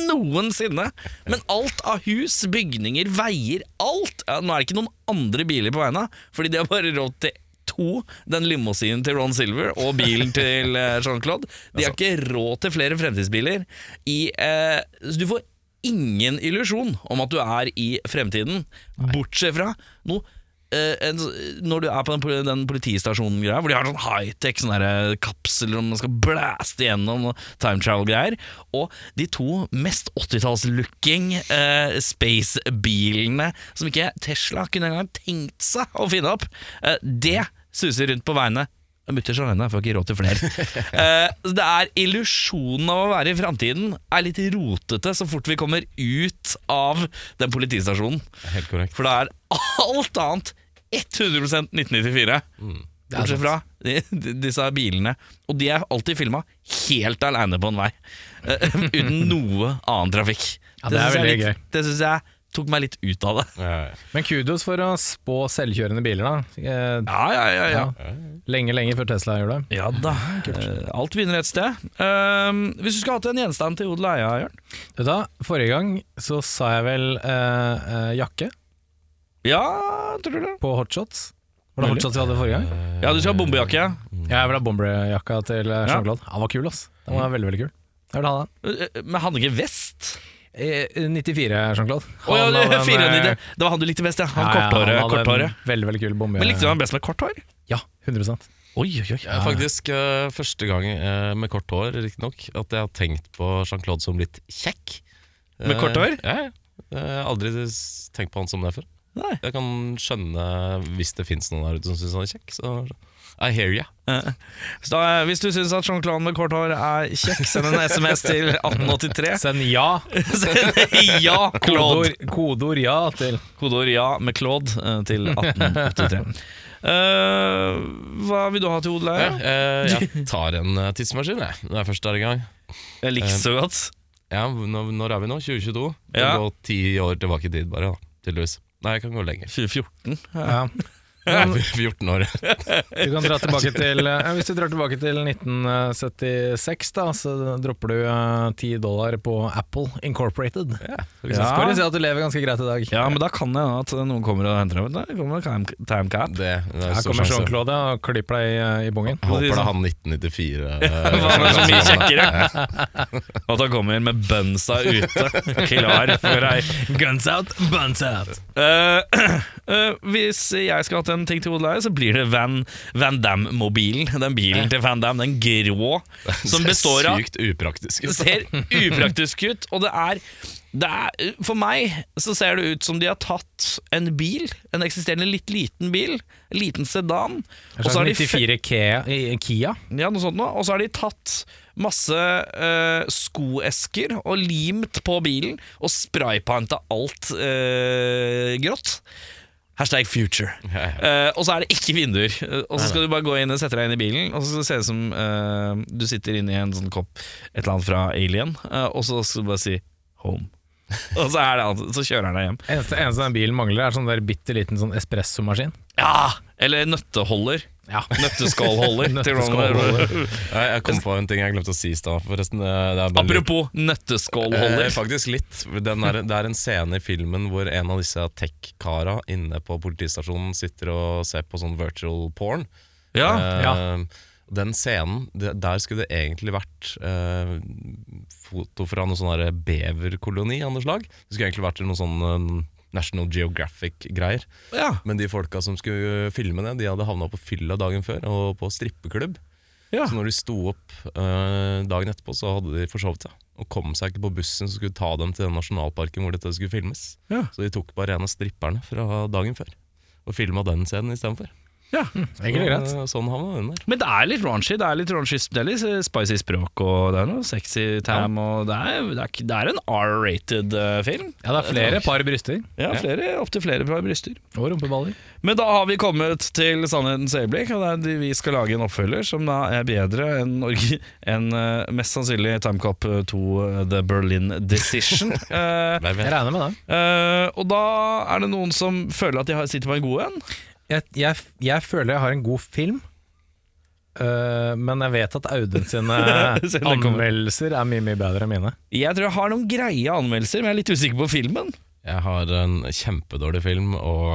Speaker 1: noensinne. Men alt av hus, bygninger, veier, alt ja, Nå er det ikke noen andre biler på veiene, fordi de har bare råd til to. Den limousinen til Ron Silver og bilen til eh, Jean-Claude. De har ikke råd til flere fremtidsbiler. I, eh, så du får ingen illusjon om at du er i fremtiden, bortsett fra noe Eh, en, når du er på den, poli- den politistasjonen-greia, hvor de har sånn high-tech sånn der, eh, kapsel og man skal blæste gjennom og time travel-greier, og de to mest 80-talls-looking eh, space-bilene som ikke Tesla kunne engang tenkt seg å finne opp, eh, det suser rundt på veiene. Mutters alene, jeg får ikke råd til flere. Eh, så det er illusjonen av å være i framtiden er litt rotete så fort vi kommer ut av den politistasjonen.
Speaker 4: Helt korrekt.
Speaker 1: For det er alt annet 100 1994.
Speaker 3: Mm.
Speaker 1: Bortsett fra de- de- disse bilene. Og de er alltid filma helt aleine på en vei. eh, Uten noe annen trafikk.
Speaker 3: Ja, det er
Speaker 1: synes jeg
Speaker 3: veldig
Speaker 1: litt, Det syns jeg tok meg litt ut av det.
Speaker 4: Ja, ja.
Speaker 3: Men kudos for å spå selvkjørende biler, da. Eh,
Speaker 1: Ja, ja, ja, ja.
Speaker 3: Lenge, lenge før Tesla gjør det.
Speaker 1: ja da. Eh, Alt begynner et sted. Ehm, hvis du skulle hatt en gjenstand til odel og eie, Jørn
Speaker 3: Vet du hva, Forrige gang så sa jeg vel eh, eh, jakke
Speaker 1: Ja, tror du det?
Speaker 3: på hotshots. Var det
Speaker 1: Mulig.
Speaker 3: hotshots vi hadde forrige gang?
Speaker 1: Ja, du skal ha bombejakke.
Speaker 3: Ja, jeg vil ha bomberjakka til eh, Jean-Claude. Han var kul, ass. Den var veldig, veldig kul. Jeg vil ha den.
Speaker 1: Eh, eh, Men hadde ikke vest?
Speaker 3: Eh, 94, Jean-Claude.
Speaker 1: Å ja,
Speaker 3: Han
Speaker 1: det,
Speaker 3: hadde en,
Speaker 1: 94.
Speaker 3: eh,
Speaker 1: det var han du likte best, ja. Han
Speaker 3: ja, ja,
Speaker 1: korthåret.
Speaker 3: hadde en
Speaker 1: korthåret.
Speaker 3: Veldig, veldig kul bombe.
Speaker 1: Men likte du han best med kort hår?
Speaker 3: Ja, 100
Speaker 1: Oi, oi, oi.
Speaker 4: Det er faktisk eh, første gang eh, med kort hår, riktignok, at jeg har tenkt på Jean-Claude som litt kjekk.
Speaker 1: Med
Speaker 4: Eh,
Speaker 1: kort hår?
Speaker 4: Ja, ja. Eh, Jeg har aldri s- tenkt på han som det før.
Speaker 1: Nei.
Speaker 4: Jeg kan skjønne, hvis det fins noen der ute som syns han er kjekk, så I hear ya.
Speaker 1: Eh, Så da, eh, hvis du syns at Jean-Claude med kort hår er kjekk, send en SMS til 1883.
Speaker 3: Send ja.
Speaker 1: Send ja, Claude!
Speaker 3: Kodeord, kodeord ja til
Speaker 1: Kodeord ja med Claude eh, til 1883. Eh, hva vil du ha til odel?
Speaker 4: Ja,
Speaker 1: her?
Speaker 4: eh, jeg tar en eh, tidsmaskin, jeg, når jeg først er i gang.
Speaker 1: Jeg liker så godt.
Speaker 4: Ja, når, når er vi nå? 2022? Jeg
Speaker 1: Ja.
Speaker 4: kan gå ti år tilbake i tid, bare. da, Tydeligvis. Nei, jeg kan gå lenger.
Speaker 1: 2014.
Speaker 3: ja.
Speaker 4: Nei, 14 år.
Speaker 3: Du kan dra tilbake til eh, ja, Hvis du drar tilbake til 1976, da, så dropper du eh, 10 dollar på Apple Incorporated.
Speaker 4: Ja, for
Speaker 3: Så
Speaker 1: Ja.
Speaker 3: skal du se at du lever ganske greit i dag.
Speaker 1: Ja, men da kan det hende at noen kommer og henter deg. Det kommer time- timecap.
Speaker 4: eksempel. det, det er
Speaker 3: Her
Speaker 4: stor
Speaker 3: kommer
Speaker 4: sjanse.
Speaker 3: Jean-Claude ja, og klyper deg i, i bongen.
Speaker 4: Jeg håper det er han 1994. eh,
Speaker 1: Han er så mye kjekkere. At han kommer med bunsa ute, klar for ei
Speaker 3: Guns out, buns out!
Speaker 1: Eh, eh, hvis jeg skulle hatt en ting til hodeleie, så blir det Van, Van Damme-mobilen. Den bilen til Van Damme, den grå, som består av
Speaker 4: Sykt upraktisk. liksom.
Speaker 1: Det ser upraktisk ut, og det er, det er For meg så ser det ut som de har tatt en bil, en eksisterende litt liten bil, en liten sedan, og så har de fe-
Speaker 3: 94 Kia, i- i eh, Kia.
Speaker 1: ja, noe sånt nå. Og så har de tatt masse eh, skoesker og limt på bilen og spraypanta alt eh, grått. Hashtag future.
Speaker 4: Ja, ja.
Speaker 1: Eh, og så er det ikke vinduer. Eh, Og så skal du bare gå inn og sette deg inn i bilen, og så skal det se ut som eh, du sitter inne i en sånn kopp, et eller annet fra Alien, eh, og så skal du bare si 'home'. Og så, er det, han- så kjører han deg hjem.
Speaker 3: Eneste, eneste den bilen mangler, er sånn der bitte liten sånn espressomaskin.
Speaker 1: Ja! Eller nøtteholder.
Speaker 3: Ja.
Speaker 1: Nøtteskålholder. til noen-
Speaker 3: Nøtteskålholder.
Speaker 4: Nei, Jeg kom på en ting jeg glemte å si i stad, forresten. eh, Det er bare litt-
Speaker 1: Apropos
Speaker 4: Eh,
Speaker 1: nøtteskålholder.
Speaker 4: faktisk litt. Den er, det er en scene i filmen hvor en av disse tech-kara inne på politistasjonen sitter og ser på sånn virtual porn.
Speaker 1: Ah, Ja,
Speaker 4: Eh,
Speaker 3: ja.
Speaker 4: Den scenen, det, der skulle det egentlig vært eh, foto fra noen sånn der beverkoloni av noe slag. Det skulle egentlig vært noe sånn eh, National Geographic-greier.
Speaker 1: ja,
Speaker 4: Men de folka som skulle eh, filme det, de hadde havna på fylla dagen før og på strippeklubb.
Speaker 1: ja.
Speaker 4: Så når de sto opp eh, dagen etterpå, så hadde de forsovet seg. Og kom seg ikke på bussen som skulle ta dem til den nasjonalparken hvor dette skulle filmes.
Speaker 1: Ja.
Speaker 4: Så de tok bare en av stripperne fra dagen før. Og filma den scenen istedenfor.
Speaker 1: ja.
Speaker 3: Egentlig greit.
Speaker 4: Så, eh, Sånn havna den der.
Speaker 1: Men det er litt raunchy. Det er litt raunchy, det er litt spicy språk, og det er noe sexy tam. Og det, er, det, er, ikke- det er en R-rated eh, film.
Speaker 3: Ja, det er flere par bryster
Speaker 1: Ja, flere, Opptil flere par bryster.
Speaker 3: og rumpeballer.
Speaker 1: Men da har vi kommet til sannhetens øyeblikk, og det er de- vi skal lage en oppfølger som da er bedre enn orgi- enn, eh, mest sannsynlig Timecop 2 eh, The Berlin Decision. Eh,
Speaker 4: Hvem
Speaker 3: Jeg
Speaker 4: vet?
Speaker 3: regner med det.
Speaker 1: eh, og da er det noen som føler at de har- sitter på en god en.
Speaker 3: Jeg, jeg, jeg føler jeg har en god film, øh, men jeg vet at Audun sine
Speaker 1: Siden det kommer.
Speaker 3: anmeldelser er mye mye bedre enn mine.
Speaker 1: Jeg tror jeg har noen greie anmeldelser, men jeg er litt usikker på filmen.
Speaker 4: Jeg har en kjempedårlig film og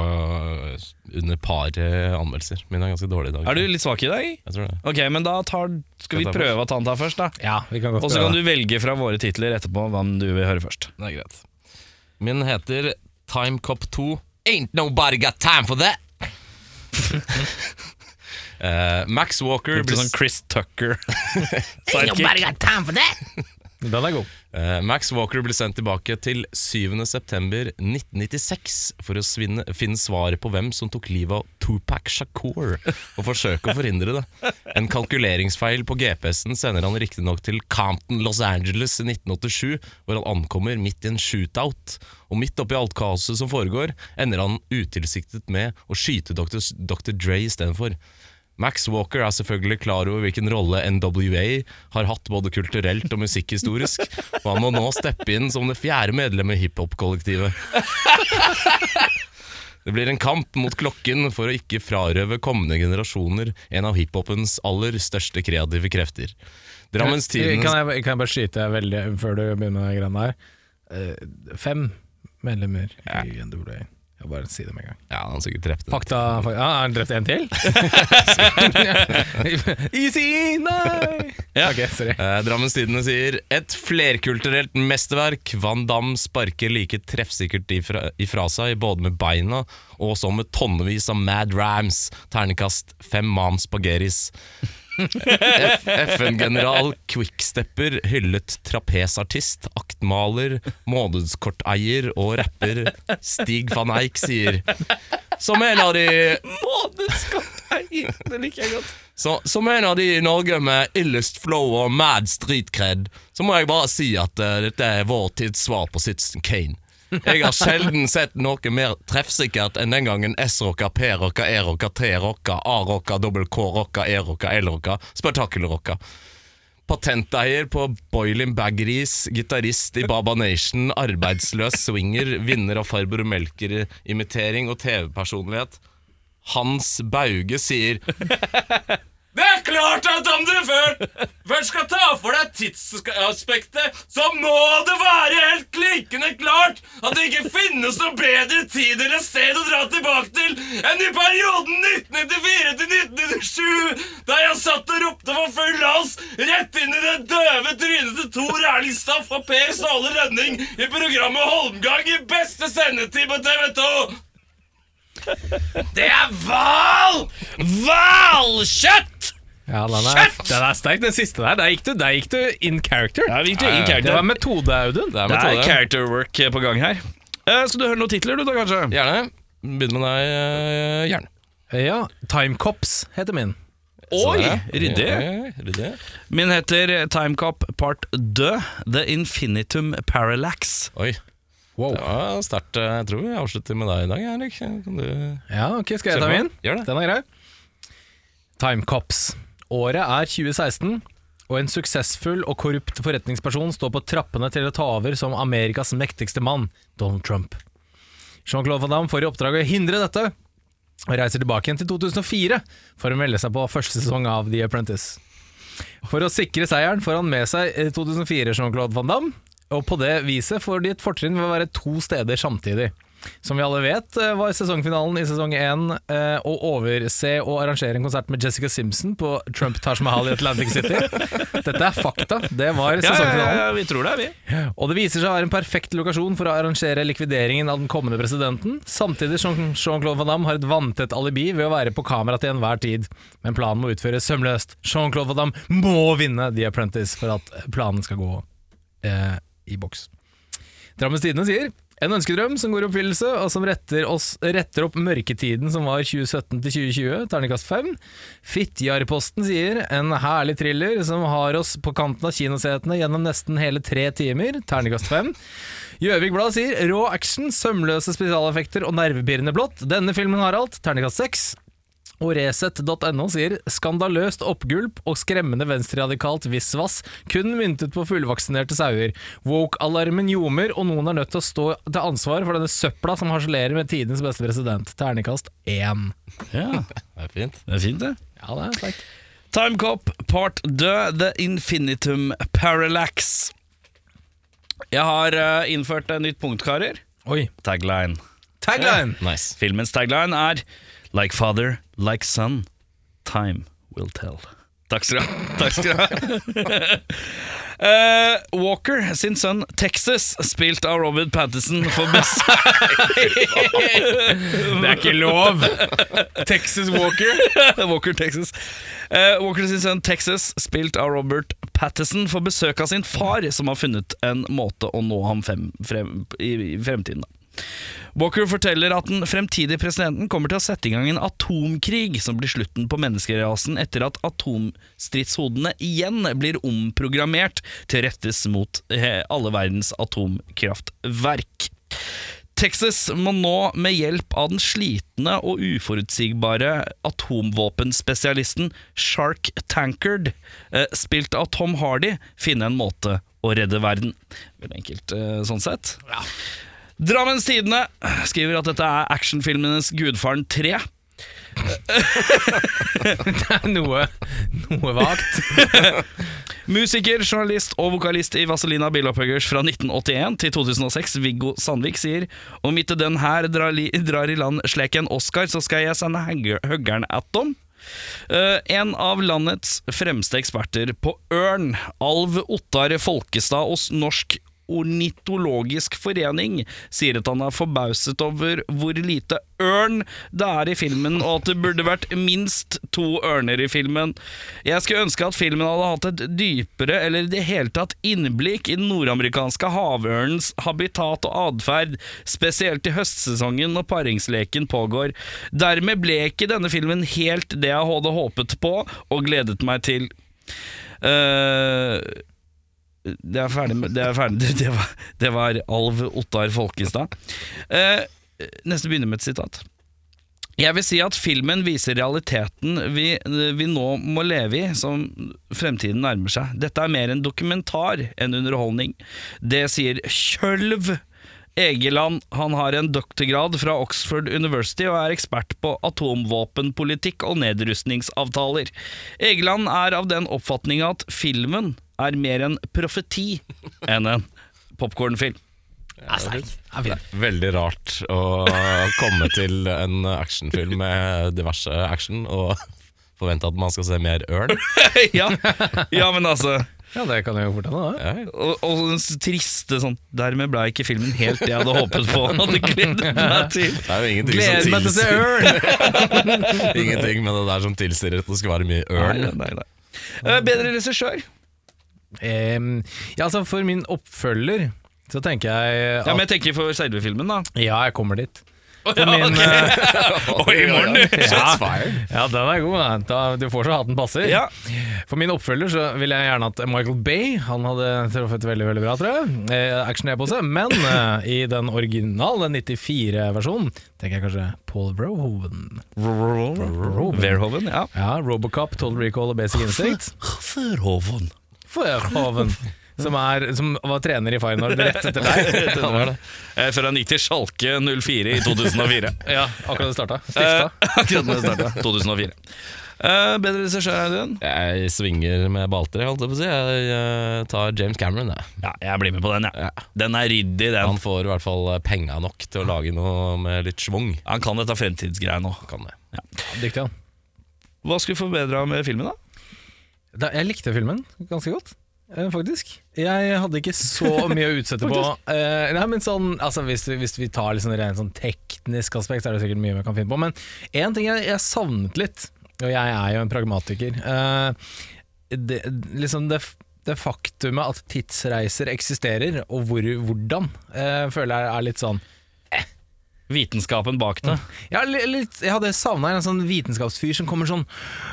Speaker 4: eh, under par eh, anmeldelser. Mine er ganske dårlige i dag.
Speaker 1: Er du litt svak i dag?
Speaker 4: Jeg tror det.
Speaker 1: Ok, men da tar, skal vi
Speaker 4: Skal jeg ta
Speaker 1: prøve at han tar først, da.
Speaker 3: Ja, vi kan godt
Speaker 1: Og så kan du velge fra våre titler etterpå hvem du vil høre først.
Speaker 4: Det er greit. Min heter Time Cop 2. Ain't nobody got time for that! Eh, Max Walker
Speaker 1: Litt
Speaker 4: blir
Speaker 1: sånn Chris Tucker.
Speaker 3: Den er god.
Speaker 4: Eh, Max Walker ble sendt tilbake til 7.9.1996 for å svinne, finne svaret på hvem som tok livet av Tupac Shakur, og forsøke å forhindre det. En kalkuleringsfeil på GPS-en sender han riktignok til Compton, Los Angeles i 1987, hvor han ankommer midt i en shootout. Og midt oppi alt kaoset som foregår, ender han utilsiktet med å skyte Dr. Dr. Dre istedenfor. Max Walker er selvfølgelig klar over hvilken rolle NWA har hatt både kulturelt og musikkhistorisk, og han må nå steppe inn som det fjerde medlemmet i hiphop-kollektivet. Det blir en kamp mot klokken for å ikke frarøve kommende generasjoner en av hiphopens aller største kreative krefter. Drammens
Speaker 3: Eh, Kan
Speaker 4: Tidende
Speaker 3: jeg, kan jeg bare skyte veldig før du begynner med de greiene der? Eh, fem medlemmer i NWA. Jeg bare si det med en gang.
Speaker 4: Ja, han sikkert drepte den.
Speaker 3: Fakta, fakta. Ah, Har han drept en til? Easy, nei!
Speaker 1: Ja.
Speaker 3: Ok, sorry.
Speaker 4: Eh, Drammens Tidende sier Et flerkulturelt mesterverk Van Damme sparker like treffsikkert ifra, ifra seg Både med beina og så med tonnevis av Mad Rams Ternekast fem mam spageris F- FN-general Quickstepper hyllet trapesartist, aktmaler, månedskorteier og rapper Stig van Eyck sier Som en av de
Speaker 1: Det liker jeg godt.
Speaker 4: så, som en av de i Norge med illest flow og mad street cred, så må jeg bare si at eh, dette er vår tids svar på Citizen Kane. Jeg har sjelden sett noe mer treffsikkert enn den gangen S-rocka, P-rocka, E-rocka, T-rocka, A-rocka, K-rocka, E-rocka, L-rocka, spetakkelrocka. Patenteier på Boilin Baggeries, gitarist i Baba Nation, arbeidsløs swinger, vinner av Farber og Melker-imitering og TV-personlighet. Hans Bauge sier det er klart at om du før- først skal ta for deg tidsaspektet, så må det være helt klinkende klart at det ikke finnes noe bedre tid eller sted å dra tilbake til enn i perioden 1994 til 1997, da jeg satt og ropte for full hals rett inn i det døve trynet til Tor Erling Staff og Per Ståle Rønning i programmet Holmgang i beste sendetid på TV 2. Det er hval! Hvalkjøtt!
Speaker 3: Ja, den er, den er sterk, den siste der. Der gikk du, der gikk du in character.
Speaker 1: Ja, vi gikk jo inn
Speaker 3: Det
Speaker 1: character.
Speaker 3: var metode, Audun.
Speaker 4: Det er
Speaker 1: Det er
Speaker 4: metode.
Speaker 1: character work eh, på gang her. Eh, skal du høre noen titler, du da, kanskje?
Speaker 4: Gjerne. Begynn med deg, eh, gjerne.
Speaker 3: Ja, Time Cops heter min.
Speaker 1: Oi,
Speaker 4: Ja,
Speaker 1: ryddig.
Speaker 4: ja, ja, Ryddig.
Speaker 1: Min heter Timecop Part Død, The Infinitum Parallax.
Speaker 4: Oi,
Speaker 3: Wow.
Speaker 4: det var sterkt. eh, Jeg tror vi avslutter med deg i dag, Henrik. Kan du
Speaker 3: Ja, ok, skal jeg ta
Speaker 4: Kjør på.
Speaker 3: min?
Speaker 4: Gjør det.
Speaker 3: Den er grei. Time Cops. Året er 2016. Og en suksessfull og korrupt forretningsperson står på trappene til å ta over som Amerikas mektigste mann, Donald Trump. Jean-Claude Van Damme får i oppdrag å hindre dette, og reiser tilbake igjen til 2004 for å melde seg på første sesong av The Apprentice. For å sikre seieren får han med seg eh, 2004 Jean-Claude Van Damme, og på det viset får de et fortrinn ved å være to steder samtidig. Som vi alle vet, eh, var sesongfinalen i sesong 1 eh, å overse og arrangere en konsert med Jessica Simpson på Trump Taj Mahal i Atlantic City. Dette er fakta. Det var
Speaker 1: Ja, ja, ja,
Speaker 3: sesongfinalen.
Speaker 1: ja, vi tror det, vi.
Speaker 3: Og det viser seg å være en perfekt lokasjon for å arrangere likvideringen av den kommende presidenten, samtidig som Jean-Claude Van Damme har et vanntett alibi ved å være på kamera til enhver tid. Men planen må utføres sømløst. Jean-Claude Van Damme må vinne The Apprentice for at planen skal gå eh, i boks. Drammens Tidende sier en ønskedrøm som går i oppfyllelse, og som retter, oss, retter opp mørketiden som var 2017 til 2020, terningkast 5. Fittjarposten sier en herlig thriller som har oss på kanten av kinosetene gjennom nesten hele tre timer, terningkast 5. Gjøvik Blad sier rå action, sømløse spesialeffekter og nervepirrende blått. Denne filmen har alt, terningkast 6. Og Resett.no sier skandaløst oppgulp og skremmende venstreradikalt visvas, kun myntet på fullvaksinerte sauer. Woke-alarmen ljomer, og noen er nødt til å stå til ansvar for denne søpla som harselerer med tidenes beste president. Ternekast én.
Speaker 1: Ja,
Speaker 4: Det er fint.
Speaker 1: det er fint, det.
Speaker 3: Ja, det er sterkt.
Speaker 1: Time Cop Part 2 The Infinitum Parallax. Jeg har eh, innført et nytt punkt, karer.
Speaker 3: Oi.
Speaker 1: Tagline.
Speaker 3: Tagline!
Speaker 4: Nice.
Speaker 1: Filmens tagline er Like father, like son, time will tell. Takk skal du ha. Takk skal du ha. Eh, Walker sin sønn Texas, spilt av Robert Pattinson for best
Speaker 3: Det er ikke lov! Texas Walker.
Speaker 1: Walker, Texas. Eh, Walker sin sønn Texas, spilt av Robert Pattison, får besøk av sin far, som har funnet en måte å nå ham frem, frem, i, i fremtiden. Da. Walker forteller at den fremtidige presidenten kommer til å sette i gang en atomkrig som blir slutten på menneskerasen etter at atomstridshodene igjen blir omprogrammert til å rettes mot eh, alle verdens atomkraftverk. Texas må nå med hjelp av den slitne og uforutsigbare atomvåpenspesialisten Shark Tankard, eh, spilt av Tom Hardy, finne en måte å redde verden. Veldig enkelt eh, sånn sett. Drammens Tidende skriver at dette er actionfilmenes Gudfaren 3.
Speaker 3: Det er noe, noe vagt.
Speaker 1: Musiker, journalist og vokalist i Vazelina Billopphuggers fra 1981 til 2006, Viggo Sandvik, sier Om ikke den her drar, li, drar i land slik en Oscar, så skal jeg sende hugger- huggeren at dem. Eh, en av landets fremste eksperter på ørn, Alv Ottar Folkestad hos Norsk ornitologisk forening sier at han er forbauset over hvor lite ørn det er i filmen, og at det burde vært minst to ørner i filmen. Jeg skulle ønske at filmen hadde hatt et dypere, eller i det hele tatt innblikk i den nordamerikanske havørnens habitat og atferd, spesielt i høstsesongen når paringsleken pågår. Dermed ble ikke denne filmen helt det jeg hadde håpet på og gledet meg til. Eh, det er ferdig med Det, er ferdig, det, var, det var Alv Ottar Folkestad. Eh, neste begynner med et sitat. Jeg vil si at filmen viser realiteten vi, vi nå må leve i, som fremtiden nærmer seg. Dette er mer en dokumentar enn underholdning. Det sier Kjølv Egeland. Han har en doktorgrad fra Oxford University og er ekspert på atomvåpenpolitikk og nedrustningsavtaler. Egeland er av den oppfatninga at filmen er mer en profeti enn en popkornfilm.
Speaker 3: Ja, fint.
Speaker 4: Veldig rart å komme til en actionfilm med diverse action og forvente at man skal se mer ørn.
Speaker 1: ja. ja, men altså
Speaker 3: Ja, det kan jo fort hende, det.
Speaker 4: Ja,
Speaker 1: og, og den s- triste sånn Dermed ble ikke filmen helt det jeg hadde håpet på. og Hadde gledet meg til
Speaker 4: Det er jo ingenting
Speaker 3: Gleder
Speaker 4: som
Speaker 3: meg til å se
Speaker 4: tilsier
Speaker 3: ørn!
Speaker 4: Ingenting med det der som tilsier at det skal være mye
Speaker 1: Nei,
Speaker 4: ørn.
Speaker 1: nei, nei. Eh, Bedre regissør.
Speaker 3: Em, ja, altså for min oppfølger så tenker jeg at
Speaker 1: Ja, men jeg tenker for selve filmen, da.
Speaker 3: Ja, jeg kommer dit.
Speaker 1: ja,
Speaker 3: For min,
Speaker 1: ok.
Speaker 3: eh,
Speaker 4: Og i morgen! Shots fired.
Speaker 3: ja, den er god. da. Da, du får så hatten passer.
Speaker 1: Ja.
Speaker 3: For min oppfølger så vil jeg gjerne at Michael Bay Han hadde truffet veldig veldig bra, tror jeg. Eh, action er på seg. Men eh, i den originale 94-versjonen tenker jeg kanskje Paul Verhoeven.
Speaker 1: Verhoeven. Ja.
Speaker 3: Ja, Robocop, Total Recall og Basic Instinct.
Speaker 1: Førhoven.
Speaker 3: Førhoven, som, er, som var trener i Feyenoord rett etter deg.
Speaker 1: Det var det. Eh, Før han gikk til Schalke 04 i 2004.
Speaker 3: Ja, akkurat det starta.
Speaker 1: Eh,
Speaker 3: Stifta.
Speaker 1: Akkurat når det startet. 2004. Eh, bedre regissør, Audun?
Speaker 4: Jeg svinger med balter, jeg holdt jeg på å si. Jeg eh, tar James Cameron, jeg.
Speaker 1: Ja, jeg blir med på den. Ja. Den er ryddig, den.
Speaker 4: Han får i hvert fall eh, penga nok til å lage noe med litt schwung.
Speaker 1: Han kan dette fremtidsgreiet nå.
Speaker 4: Kan det.
Speaker 3: Dyktig han.
Speaker 1: Hva skulle forbedra med filmen, da?
Speaker 3: Da, jeg likte filmen ganske godt, eh, faktisk. Jeg hadde ikke så mye å utsette på. Eh, nei, men sånn, altså, hvis, du- hvis vi tar litt sånn rent sånn teknisk aspekt, så er det sikkert mye man kan finne på. Men én ting jeg, jeg savnet litt, og jeg er jo en pragmatiker eh, det, liksom det, f- det faktumet at tidsreiser eksisterer, og hvor, hvordan, eh, føler jeg er litt sånn
Speaker 1: Vitenskapen bak det.
Speaker 3: jeg, har li- litt, jeg hadde savna en sånn vitenskapsfyr som kommer sånn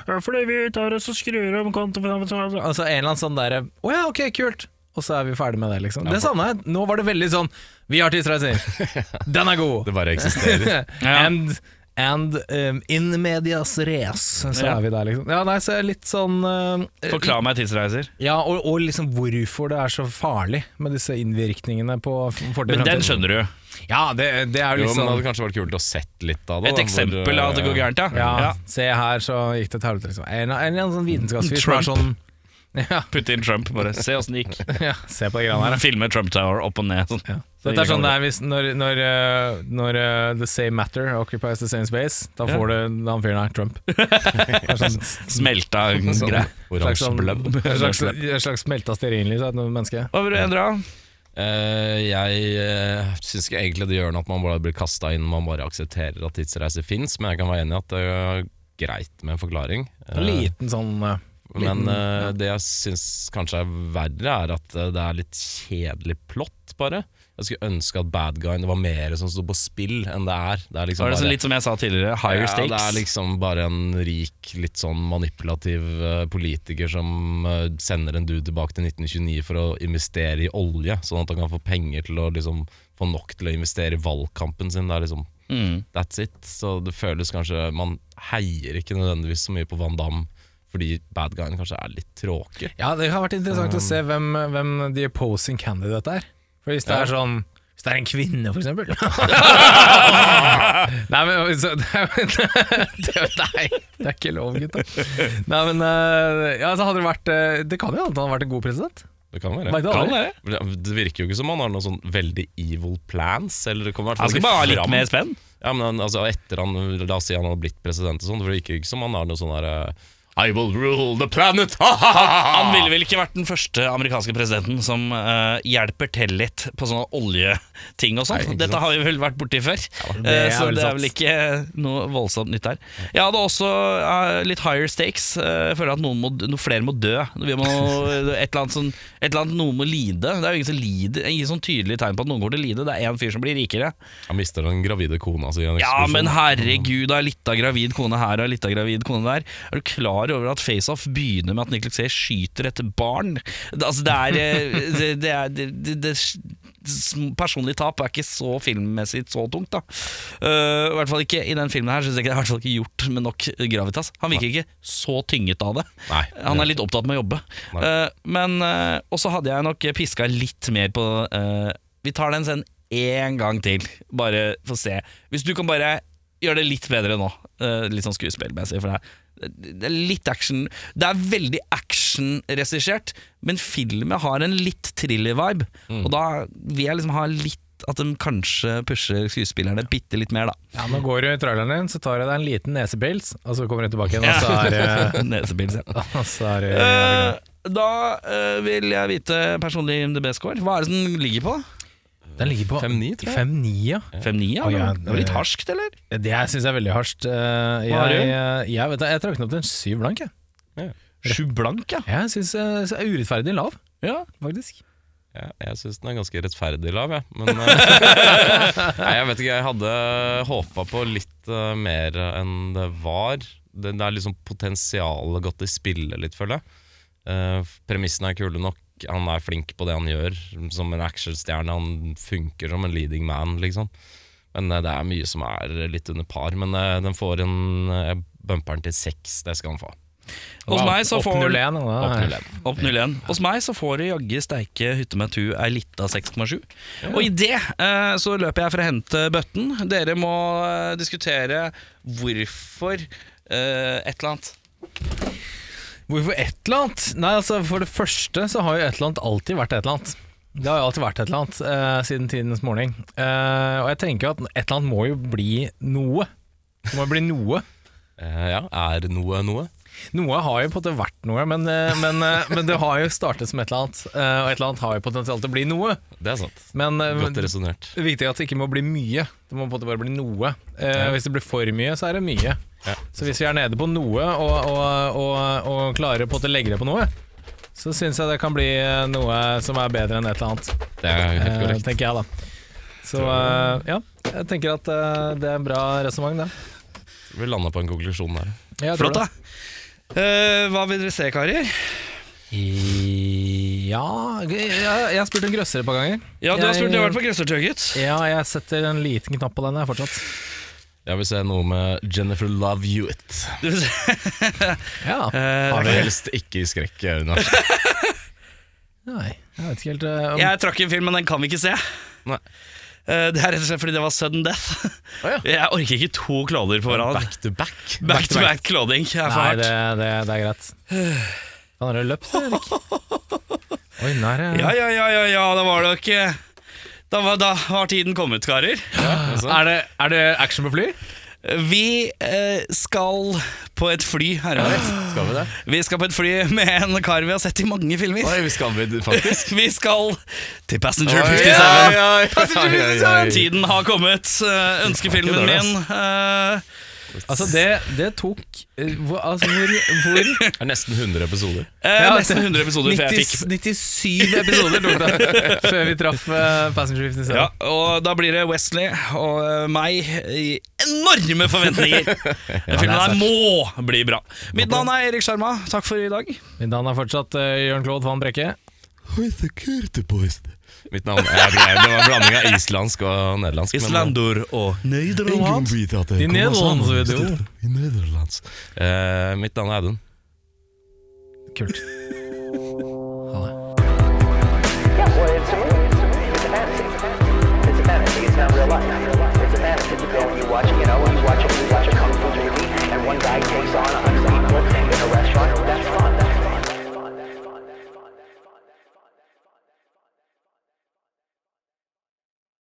Speaker 3: «Ja, Fordi vi tar oss og skrur om kontoen Altså en eller annen sånn derre Å ja, ok, kult. Og så er vi ferdig med det, liksom. Det savna jeg. Nå var det veldig sånn Vi har tidsreiser. Den er god.
Speaker 4: Det bare eksisterer.
Speaker 3: and and um, in medias race, så
Speaker 1: Ja.
Speaker 3: er vi der, liksom. Ja, nei, så er jeg litt sånn eh,
Speaker 1: Forklar meg tidsreiser.
Speaker 3: Ja, og, og liksom hvorfor det er så farlig med disse innvirkningene på fortiden.
Speaker 1: Men den skjønner du.
Speaker 3: Ja, det, det er jo
Speaker 4: Jo,
Speaker 3: liksom
Speaker 4: men det hadde kanskje vært kult å sett litt av det.
Speaker 1: Et
Speaker 4: sånn- da, hvor, eh,
Speaker 1: eksempel av at det går gærent, ja.
Speaker 3: Ja,
Speaker 1: ja.
Speaker 3: se her så gikk det til helvete liksom. En, en, eller annen sånn vitenskapsfyr som er sånn
Speaker 1: Trump.
Speaker 3: ja,
Speaker 1: Putte inn Trump, bare. Se åssen det gikk.
Speaker 3: ja, se på de greiene her da.
Speaker 1: Filme Trump Tower opp og ned. Sånn.
Speaker 3: Så Dette er sånn det er hvis når, når, eh, når eh, the same matter occupies the same space Da får du den fyren her, Trump Det er sånn,
Speaker 1: Smelta
Speaker 4: Sånn
Speaker 1: greie.
Speaker 3: slags,
Speaker 4: Oransje
Speaker 3: sånn,
Speaker 4: blubb.
Speaker 3: en slags, en slags smelta stearinlys av et menneske
Speaker 1: Hva vil du endre?
Speaker 4: Sånn Eh, jeg uh, syns ikke egentlig det gjør noe at man bare blir kasta inn, man bare aksepterer at tidsreiser fins, men jeg kan være enig i at det er greit med en forklaring. Eh,
Speaker 3: En liten sånn eh,
Speaker 4: men
Speaker 3: liten,
Speaker 4: eh, det jeg syns kanskje er verre, er at eh, det er litt kjedelig plott, bare. Jeg skulle ønske at bad guyen var mer som sto på spill enn det er. Det er
Speaker 1: Så
Speaker 4: liksom
Speaker 1: er det sånn
Speaker 4: bare-
Speaker 1: litt som jeg sa tidligere, higher stakes.
Speaker 4: Ja, det er liksom bare en rik, litt sånn manipulativ eh, politiker som eh, sender en dude tilbake til 1929 for å investere i olje, sånn at han kan få penger til å liksom få nok til å investere i valgkampen sin. Det er liksom
Speaker 1: Mm.
Speaker 4: That's it. Så det føles kanskje Man heier ikke nødvendigvis så mye på Van Damme fordi bad guyen kanskje er litt tråkig.
Speaker 3: Ja, det har vært interessant å se hvem, hvem de opposing candidate er. For hvis det er sånn Hvis det er en kvinne, for eksempel Nei, men så, det, er- det, er- Nei, det er ikke lov, gutta. Nei, men eh, ja, så hadde det vært eh, Det kan jo hende han hadde vært en god president.
Speaker 4: Det kan
Speaker 3: Vet
Speaker 4: være.
Speaker 3: du aldri.
Speaker 1: være.
Speaker 4: Det det virker jo ikke som han har noen sånn veldig evil plans. Eller det kommer i hvert
Speaker 1: Han
Speaker 4: fall
Speaker 1: skal
Speaker 4: ikke
Speaker 1: bare ha litt
Speaker 4: fram.
Speaker 1: mer spenn.
Speaker 4: Ja, men han- altså etter han, La oss si han hadde blitt president og sånn, for det virker jo ikke som han har noe sånn derre I will rule the planet!
Speaker 1: Han
Speaker 4: han
Speaker 1: ville vel ikke vært den første amerikanske presidenten som eh, hjelper til litt på sånne oljeting og
Speaker 4: Nei,
Speaker 1: sånt.
Speaker 4: ikke
Speaker 1: Dette
Speaker 4: sant.
Speaker 1: har vi vel vært borti før,
Speaker 3: det
Speaker 1: eh,
Speaker 3: er
Speaker 1: så
Speaker 3: vel
Speaker 1: det
Speaker 3: sant.
Speaker 1: er vel ikke noe voldsomt nytt der. Jeg hadde også eh, litt higher stakes. Eh, jeg føler at noen må, noen flere må dø. Vi må, et, eller annet sånn, et eller annet noen må lide. Det er jo ingen som lider. Ingen sånn tydelig tegn på at noen går til å lide. Det er én fyr som blir rikere.
Speaker 4: Han mister den gravide kona si. i en
Speaker 1: Ja,
Speaker 4: eksplosjon.
Speaker 1: men herregud, da er litt av gravid kone her og litt av gravid kone der. Er du klar over at FaceOff begynner med at Nicolas Cage skyter etter barn? Det, altså, det er, eh, det, det er det, det, det, s- Personlig tap er ikke så filmmessig så tungt, da. Eh, I hvert fall ikke i den filmen her, syns jeg ikke det er i hvert fall ikke gjort med nok gravitas. Han virker ikke så tynget av det.
Speaker 4: Nei.
Speaker 1: Han er litt opptatt med å jobbe.
Speaker 4: Nei.
Speaker 1: Eh, men uh, Og så hadde jeg nok piska litt mer på eh, Vi tar den scenen én gang til, bare for å se. Hvis du kan bare gjøre det litt bedre nå, eh, litt sånn skuespillmessig, for det er, det er litt action Det er veldig actionregissert, men filmen har en litt thriller-vibe. Og da vil jeg liksom ha litt at de kanskje pusher skuespillerne bitte litt mer, da.
Speaker 3: Ja, Nå går du i traileren din, så tar jeg deg en liten nesepils, og så kommer du tilbake igjen, og så er det
Speaker 1: Nesepils, ja.
Speaker 3: og så er det-
Speaker 1: Eh, da eh, vil jeg vite personlig MDB-score. Hva er det den ligger på?
Speaker 3: Den ligger på
Speaker 4: 5-9, tror jeg.
Speaker 3: 5-9, ja.
Speaker 1: 5-9, ja?
Speaker 3: Å, ja,
Speaker 1: Det var litt harskt, eller?
Speaker 3: Det jeg syns jeg er veldig harskt. Eh,
Speaker 1: Hva har du?
Speaker 3: Jeg, jeg, jeg, vet, det, jeg trakk den opp til en syv blank, jeg.
Speaker 1: Sju blank, ja.
Speaker 3: Jeg syns jeg er urettferdig lav, faktisk.
Speaker 4: Ja, jeg syns den er ganske rettferdig lav, jeg. Men eh, Nei, jeg vet ikke. Jeg hadde håpa på litt eh, mer enn det var. Det, det er liksom potensialet gått i spille litt, føler jeg. Eh, premissene er kule nok. Han er flink på det han gjør, som en actionstjerne. Han funker som en leading man, liksom. Men eh, det er mye eh, som er litt under par. Men eh, den får en uh, bumper'n til seks, det skal han få.
Speaker 1: Hos meg så får
Speaker 3: Opp 01. da.
Speaker 4: Opp 01.
Speaker 1: Opp 01. Hos meg så får det jaggu steike hytte med tu ei lita 6,7. Og i det eh, så løper jeg for å hente bøtten. Dere må eh, diskutere hvorfor eh, et eller annet.
Speaker 3: Hvorfor et eller annet? Nei, altså For det første så har jo et eller annet alltid vært et eller annet. Det har jo alltid vært et eller annet eh, siden tidenes morgen. Eh, og jeg tenker at et eller annet må jo bli noe. Det må jo bli noe.
Speaker 4: Eh, ja, er noe noe?
Speaker 3: Noe har jo på en måte vært noe, men, eh, men, eh, men det har jo startet som et eller annet. eh, Og et eller annet har jo potensial til å bli noe.
Speaker 4: Det er sant.
Speaker 3: Men eh,
Speaker 4: Godt
Speaker 3: det
Speaker 4: resonnert.
Speaker 3: er viktig at det ikke må bli mye. Det må på en måte bare bli noe. Eh, Hvis det blir for mye, så er det mye.
Speaker 4: Ja.
Speaker 3: Så hvis vi er nede på noe og, og, og, og klarer på en måte å legge det på noe, så syns jeg det kan bli eh, noe som er bedre enn et eller annet,
Speaker 4: Det er helt
Speaker 3: eh,
Speaker 4: korrekt.
Speaker 3: tenker jeg da. Så eh, ja, jeg tenker at eh, det er en bra resonnement, det.
Speaker 4: Vi landa på en konklusjon der.
Speaker 3: Jeg tror
Speaker 1: Flott, da.
Speaker 3: det.
Speaker 1: Eh, hva vil dere se, karer?
Speaker 3: Ja Jeg, jeg har spurt en grøsser et par ganger.
Speaker 1: Ja, du har
Speaker 3: Jeg-
Speaker 1: spurt, du har vært på Grøssertøy, gutt.
Speaker 3: Ja, jeg setter en liten knapp på den jeg fortsatt.
Speaker 4: Jeg vil se noe med Jennifer Love Hewitt.
Speaker 1: Du vil se-
Speaker 3: Ja.
Speaker 1: Eh,
Speaker 4: Har vi helst ikke i skrekk i øynene.
Speaker 3: Nei, jeg vet ikke helt eh, om,
Speaker 1: jeg trakk en film, men den kan vi ikke se.
Speaker 4: Nei.
Speaker 1: Eh, det er rett og slett fordi det var sudden death.
Speaker 4: Å,
Speaker 1: Jeg orker ikke to kloder på hverandre.
Speaker 4: Back to back.
Speaker 1: Back to back kloding. Det er for
Speaker 3: Nei,
Speaker 1: hardt.
Speaker 3: det, det, det er greit. Faen, har du løpt, Erik? Oi, nær er
Speaker 1: Ja, ja, ja, ja, ja, da var det jo ikke da var, da har tiden kommet, karer.
Speaker 3: Altså, Er det, er det action på fly?
Speaker 1: Vi eh, skal på et fly, herreavdeling.
Speaker 4: Skal vi det?
Speaker 1: Vi skal på et fly med en kar vi har sett i mange filmer.
Speaker 4: Oi, vi skal vi faktisk.
Speaker 1: Vi skal til Passenger
Speaker 4: Oi,
Speaker 1: 57.
Speaker 4: oi, oi, oi, oi, oi.
Speaker 1: Tiden har kommet. Eh, Ønskefilmen
Speaker 4: Det var
Speaker 1: min.
Speaker 4: ikke
Speaker 1: eh,
Speaker 3: Altså, det, det tok eh, hvor, altså, hvor, hvor
Speaker 4: Det er nesten 100 episoder.
Speaker 1: eh,
Speaker 3: Ja,
Speaker 1: nesten
Speaker 3: det-
Speaker 1: 100 episoder før jeg
Speaker 3: 90,
Speaker 1: fikk
Speaker 3: 97 episoder tok det før vi traff eh, Passenger 57.
Speaker 1: ja, Og da blir det Wesley og eh, meg i enorme forventninger. Den filmen her må bli bra. Mitt navn er Erik Sjarma. Takk for i dag.
Speaker 3: Mitt navn er fortsatt uh, Jørn Claude van Brekke.
Speaker 4: Mitt navn er Det var en blanding av islandsk og nederlandsk. men-
Speaker 1: Islandor og Nederland.
Speaker 3: I Nederlandsvideo.
Speaker 4: Eh, mitt navn er Audun.
Speaker 3: Kult. Ha det.
Speaker 2: Yeah, well, it's a movie. It's a movie. It's a fantasy. It's a fantasy. It's not real life. It's a fantasy. You go and you watch, you know, you watch, you watch a kung fu movie, and one guy takes on a hundred people in a restaurant. That's